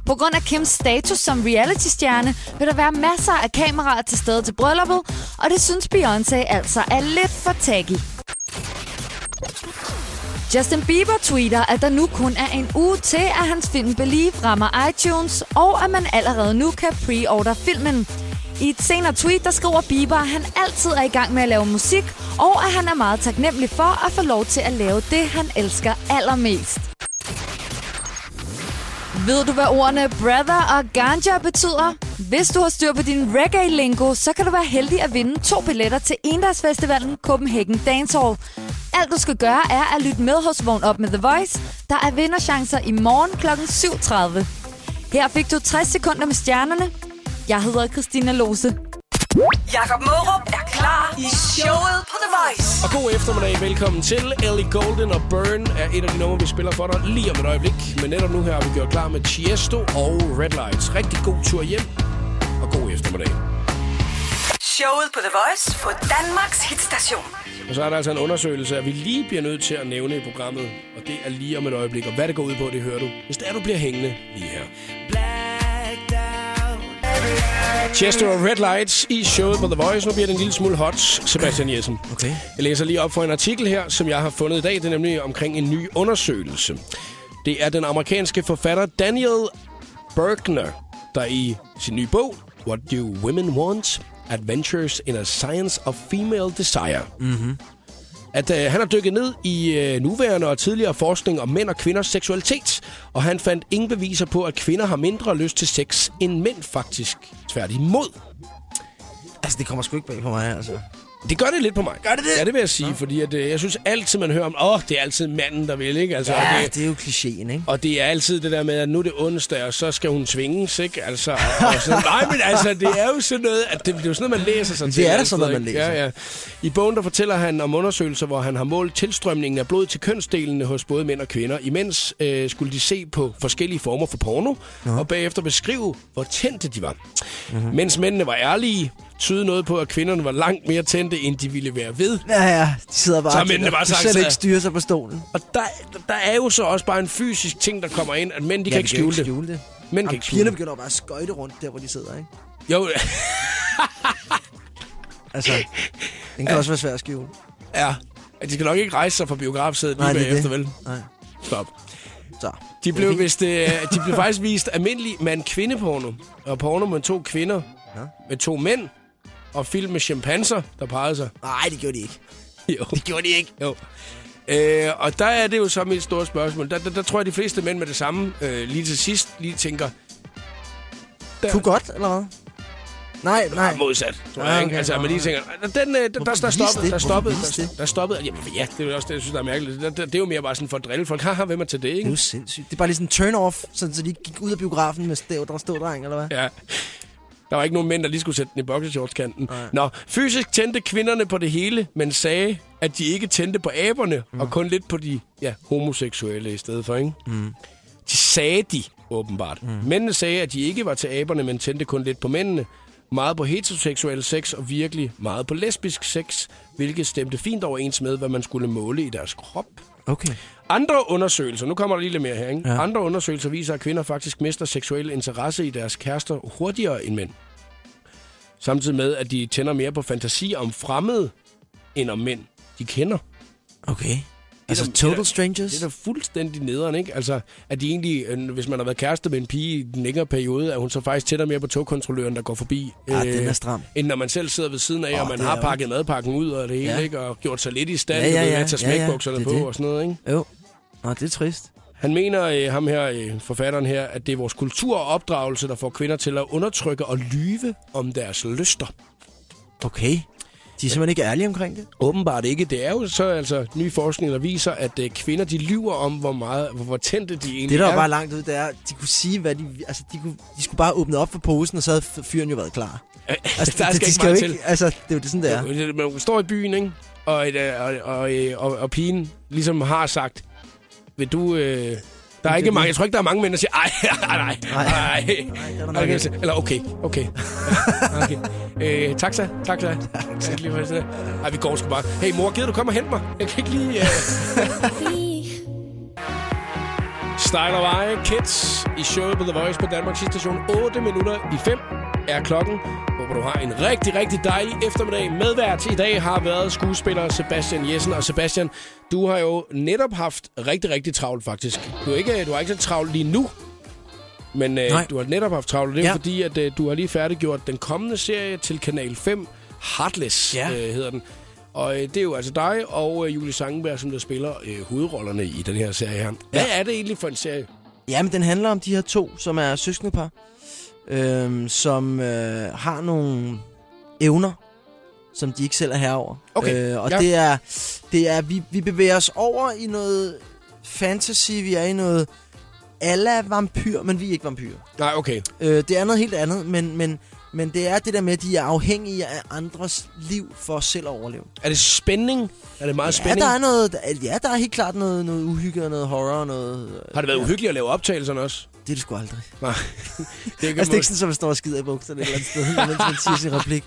S8: På grund af Kims status som reality-stjerne, vil der være masser af kameraer til stede til brylluppet, og det synes Beyoncé altså er lidt for taggy. Justin Bieber tweeter, at der nu kun er en uge til, at hans film Believe rammer iTunes, og at man allerede nu kan pre-order filmen. I et senere tweet, der skriver Bieber, at han altid er i gang med at lave musik, og at han er meget taknemmelig for at få lov til at lave det, han elsker allermest. Ved du, hvad ordene brother og ganja betyder? Hvis du har styr på din reggae-lingo, så kan du være heldig at vinde to billetter til Endagsfestivalen Copenhagen Dancehall. Alt du skal gøre er at lytte med hos Vågn op med The Voice. Der er vinderchancer i morgen kl. 7.30. Her fik du 60 sekunder med stjernerne. Jeg hedder Christina Lose.
S3: Jakob Mørup er klar i showet på The Voice.
S1: Og god eftermiddag. Velkommen til. Ellie Golden og Burn er et af de numre, vi spiller for dig lige om et øjeblik. Men netop nu her har vi gjort klar med Tiesto og Red Lights. Rigtig god tur hjem. Og god eftermiddag.
S3: Showet på The Voice på Danmarks hitstation.
S1: Og så er der altså en undersøgelse, at vi lige bliver nødt til at nævne i programmet, og det er lige om et øjeblik. Og hvad det går ud på, det hører du, hvis det er, du bliver hængende lige her.
S12: Blacked out.
S1: Chester og Red Lights i showet på The Voice. Nu bliver det en lille smule hot, Sebastian Jessen.
S2: Okay.
S1: Jeg læser lige op for en artikel her, som jeg har fundet i dag. Det er nemlig omkring en ny undersøgelse. Det er den amerikanske forfatter Daniel Bergner, der i sin nye bog, What Do Women Want? Adventures in a Science of Female Desire,
S2: Mm-hmm.
S1: at øh, han har dykket ned i øh, nuværende og tidligere forskning om mænd og kvinders seksualitet, og han fandt ingen beviser på, at kvinder har mindre lyst til sex end mænd faktisk. Tværtimod.
S2: Altså, det kommer sgu ikke bag på mig, altså.
S1: Det gør det lidt på mig. Gør det det? Ja, det vil jeg sige, fordi at, øh, jeg synes altid, man hører om, åh, oh, det er altid manden, der vil, ikke? Altså, og
S2: Ja,
S1: det,
S2: det er jo klichéen, ikke?
S1: og det er altid det der med, at nu er det onsdag, og så skal hun svinges, ikke? Altså, og sådan, nej, men altså, det er jo sådan noget, at det, det er jo sådan noget, man læser sig
S2: Det
S1: til.
S2: er da
S1: altid,
S2: sådan noget, man
S1: ikke?
S2: læser.
S1: Ja, ja. I bogen, der fortæller han om undersøgelser, hvor han har målt tilstrømningen af blod til kønsdelene hos både mænd og kvinder. Imens øh, skulle de se på forskellige former for porno, og bagefter beskrive, hvor tændte de var.
S2: Mhm.
S1: Mm-hmm. Mens mændene var ærlige, tydede noget på, at kvinderne var langt mere tændte, end de ville være ved.
S2: Ja, ja, de sidder bare
S1: Så har
S2: og
S1: mændene
S2: tænker,
S1: bare
S2: "Du
S1: sagt
S2: selv
S1: så-
S2: ikke styre sig på stolen.
S1: Og der, der er jo så også bare en fysisk ting, der kommer ind, at mænd de
S2: Ja,
S1: kan
S2: vi
S1: ikke
S2: kan jo
S1: skjule,
S2: ikke skjule det.
S1: det. Mænd kan
S2: Jamen,
S1: ikke skjule
S2: pigerne
S1: det.
S2: begynder bare at skøjte rundt der, hvor de sidder, ikke?
S1: Jo,
S2: Altså, den kan også være svær at skjule.
S1: ja. De skal nok ikke rejse sig fra biografsædet lige
S2: Nej, det er
S1: bagefter,
S2: det.
S1: vel?
S2: Nej.
S1: Stop.
S2: Så.
S1: De
S2: Det er
S1: blev,
S2: fint.
S1: vist, øh, de blev faktisk vist almindelig mand-kvinde-porno. Og porno med to kvinder,
S2: Ja.
S1: med to mænd, og film med chimpanser, der parrede sig.
S2: Nej, det gjorde de ikke.
S1: Jo.
S2: Det gjorde de ikke.
S1: Jo. Øh, og der er det jo så mit store spørgsmål. Der, der, der tror jeg, de fleste mænd med det samme øh, lige til sidst lige tænker, der-
S2: Kunne godt, eller hvad? Nej, nej.
S1: Nej. modsat. Tror
S2: Ah,
S1: jeg, ikke?
S2: okay.
S1: Altså, at man lige tænker, "Ah, den, øh, der, der,
S2: Hvorfor
S1: der,
S2: viste
S1: stoppede,
S2: det?
S1: der
S2: Hvorfor
S1: stoppede,
S2: viste
S1: der,
S2: det?
S1: der stoppede, jamen ja, det er jo også det, jeg synes, der er mærkeligt. Det, det, det er jo mere bare sådan for at drille folk. Haha, hvem er til det,
S2: Det er jo
S1: ikke?
S2: sindssygt. Det er bare lige sådan en turn-off, sådan, så de ikke gik ud af biografen med stæv, der stod dreng, eller hvad?
S1: Ja. Der var ikke nogen mænd, der lige skulle sætte den i boxershortskanten. Nå, fysisk tændte kvinderne på det hele, men sagde, at de ikke tændte på aberne, mm. og kun lidt på de ja, homoseksuelle i stedet for, ikke?
S2: Mm.
S1: De sagde de, åbenbart. Mm. Mændene sagde, at de ikke var til aberne, men tændte kun lidt på mændene. Meget på heteroseksuel sex, og virkelig meget på lesbisk sex, hvilket stemte fint overens med, hvad man skulle måle i deres krop.
S2: Okay.
S1: Andre undersøgelser, nu kommer der lige lidt mere her, ikke?
S2: Ja.
S1: Ja. Andre undersøgelser viser, at kvinder faktisk mister seksuel interesse i deres kærester hurtigere end mænd. Samtidig med, at de tænder mere på fantasi om fremmede, end om mænd, de kender.
S2: Okay. Altså,
S1: da-
S2: total
S1: det
S2: strangers?
S1: Det er da fuldstændig nederen, ikke? Altså, at de egentlig, øh, hvis man har været kæreste med en pige i den længere periode, at hun så faktisk tættere mere på togkontrolløren, der går forbi. øh,
S2: Ja, den er stram.
S1: End når man selv sidder ved siden af,
S2: Åh,
S1: og man
S2: det er
S1: har
S2: jo-
S1: pakket madpakken ud og det hele,
S2: Ja.
S1: ikke? Og gjort sig lidt i stand,
S2: Ja, ja,
S1: du ved,
S2: ja.
S1: at tage
S2: Ja, ja.
S1: smækbukserne
S2: Det er
S1: på
S2: det.
S1: og sådan noget, ikke?
S2: Jo. Nå, det er trist.
S1: Han mener, øh, ham her, øh, forfatteren her, at det er vores kultur og opdragelse, der får kvinder til at undertrykke og lyve om deres lyster.
S2: Okay. De er simpelthen ikke ærlige omkring det.
S1: Åbenbart ikke. Det er jo så altså ny forskning, der viser, at øh, kvinder de lyver om, hvor meget hvor, hvor tændte de egentlig
S2: Det, der
S1: er.
S2: var bare langt ud, det er, de kunne sige, hvad de... Altså, de, kunne, de skulle bare åbne op for posen, og så havde f- fyren jo været klar. Altså,
S1: der
S2: det,
S1: skal
S2: de
S1: ikke
S2: jo
S1: meget til.
S2: Altså, det er jo det, sådan, det er.
S1: Ja. Øh, Man står i byen, ikke? Og, et, øh, og, og, øh, og, og pigen ligesom har sagt, vil du... Øh, der er ikke
S2: det.
S1: mange, jeg tror ikke, der er mange mænd, der siger, ej, nej, nej, nej.
S2: nok
S1: Okay,
S2: ikke.
S1: så- Eller okay, okay. okay. Øh, taxa, taxa. taxa. Lige for det. Ej, vi går sgu bare. Hey mor, gider du komme og hente mig? Jeg kan ikke lige... Øh... Style Vej, Kids i showet på The Voice på Danmarks station 8 minutter i 5 er klokken. Håber du har en rigtig, rigtig dejlig eftermiddag. Medvært i dag har været skuespiller Sebastian Jessen. Og Sebastian, du har jo netop haft rigtig, rigtig travlt faktisk. Du er ikke, du har ikke så travlt lige nu, men øh,
S2: Nej.
S1: du har netop haft travlt. Det er
S2: Ja.
S1: ja. fordi, at øh, du har lige færdiggjort den kommende serie til Kanal 5. Heartless
S2: Ja.
S1: ja. øh, hedder den. Og øh, det er jo altså dig og øh, Julie Sangenberg, som der spiller øh, hovedrollerne i den her serie her. Hvad er det egentlig for en serie?
S2: Ja, men den handler om de her to, som er søskendepar, øhm, som øh, har nogle evner, som de ikke selv er herover.
S1: Okay,
S2: Øh, og
S1: ja.
S2: det er, det er vi, vi bevæger os over i noget fantasy, vi er i noget alla vampyr, men vi er ikke vampyrer.
S1: Nej, okay.
S2: Øh, det er noget helt andet, men, men, men det er det der med, at de er afhængige af andres liv for selv at overleve.
S1: Er det spænding? Er det meget spænding?
S2: Ja, der er noget, ja, der er helt klart noget, noget uhygge og noget horror og noget...
S1: Har det været uhyggeligt at lave optagelserne også?
S2: Det er det sgu aldrig.
S1: Nej.
S2: Det er, altså, det er ikke sådan, at man står og skider i bukserne et eller andet sted, mens man siger sin replik.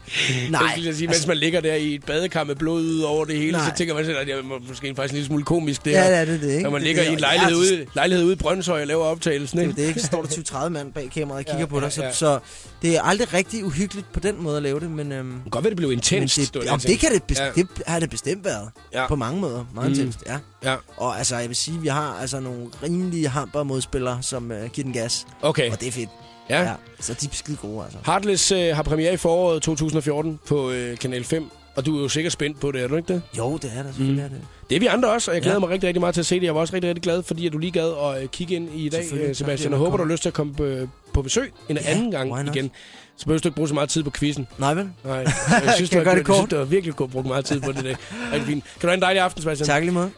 S2: Nej.
S1: Jeg skulle lige sige, mens man ligger der i et badekar med blod ud over det hele, Nej. så
S2: Nej.
S1: tænker man selv, at det er måske faktisk en lille smule komisk det
S2: Ja,
S1: her.
S2: ja, det er det, ikke?
S1: Når man
S2: Det er
S1: ligger
S2: det,
S1: i en
S2: og
S1: lejlighed
S2: jeg er- altså-
S1: ude, lejlighed ude i Brøndshøj og laver optagelsen, ikke?
S2: Det er jo det ikke. Så står der 20-30 mand bag kameraet og kigger
S1: Ja,
S2: ja, på dig.
S1: ja,
S2: Så,
S1: ja.
S2: ja. så det er aldrig rigtig uhyggeligt på den måde at lave det, men... Øhm,
S1: godt være, det blev intenst,
S2: men
S1: det var det,
S2: Det, jamen,
S1: jeg
S2: det, kan det,
S1: tænkte.
S2: bes-
S1: Ja.
S2: ja. det har det bestemt været.
S1: Ja.
S2: Ja. På mange måder. Meget
S1: Mm.
S2: mm. intenst, ja.
S1: Ja.
S2: Og altså, jeg vil sige, vi har altså nogle rimelige hamper modspillere, som øh, giver den gas.
S1: Okay.
S2: Og det er fedt.
S1: Ja.
S2: Så de er skide gode, altså.
S1: Heartless øh, har premiere i foråret 2014 på øh, Kanal 5, og du er jo sikkert spændt på det, er du ikke det?
S2: Jo, det er der selvfølgelig. Mm. Er det.
S1: Det er vi andre også, og jeg glæder
S2: Ja.
S1: mig rigtig, rigtig meget til at se det. Jeg var også rigtig, rigtig glad, fordi at du lige gad at øh, kigge ind i dag, øh,
S2: Selvfølgelig. Tak, fordi
S1: Sebastian. Jeg
S2: jeg
S1: håber, du
S2: måtte
S1: har lyst til at komme øh, på besøg en
S2: Ja,
S1: anden gang
S2: why not?
S1: igen. Så behøver du ikke bruge så meget tid på quizzen.
S2: Nej, vel?
S1: Nej, jeg synes,
S2: Kan
S1: du har,
S2: jeg gøre det
S1: jeg synes,
S2: kort?
S1: du har virkelig godt brugt meget tid på det. i dag. Rigtig fint. Kan du have en dejlig aften, Sebastian?
S2: Tak lige måde.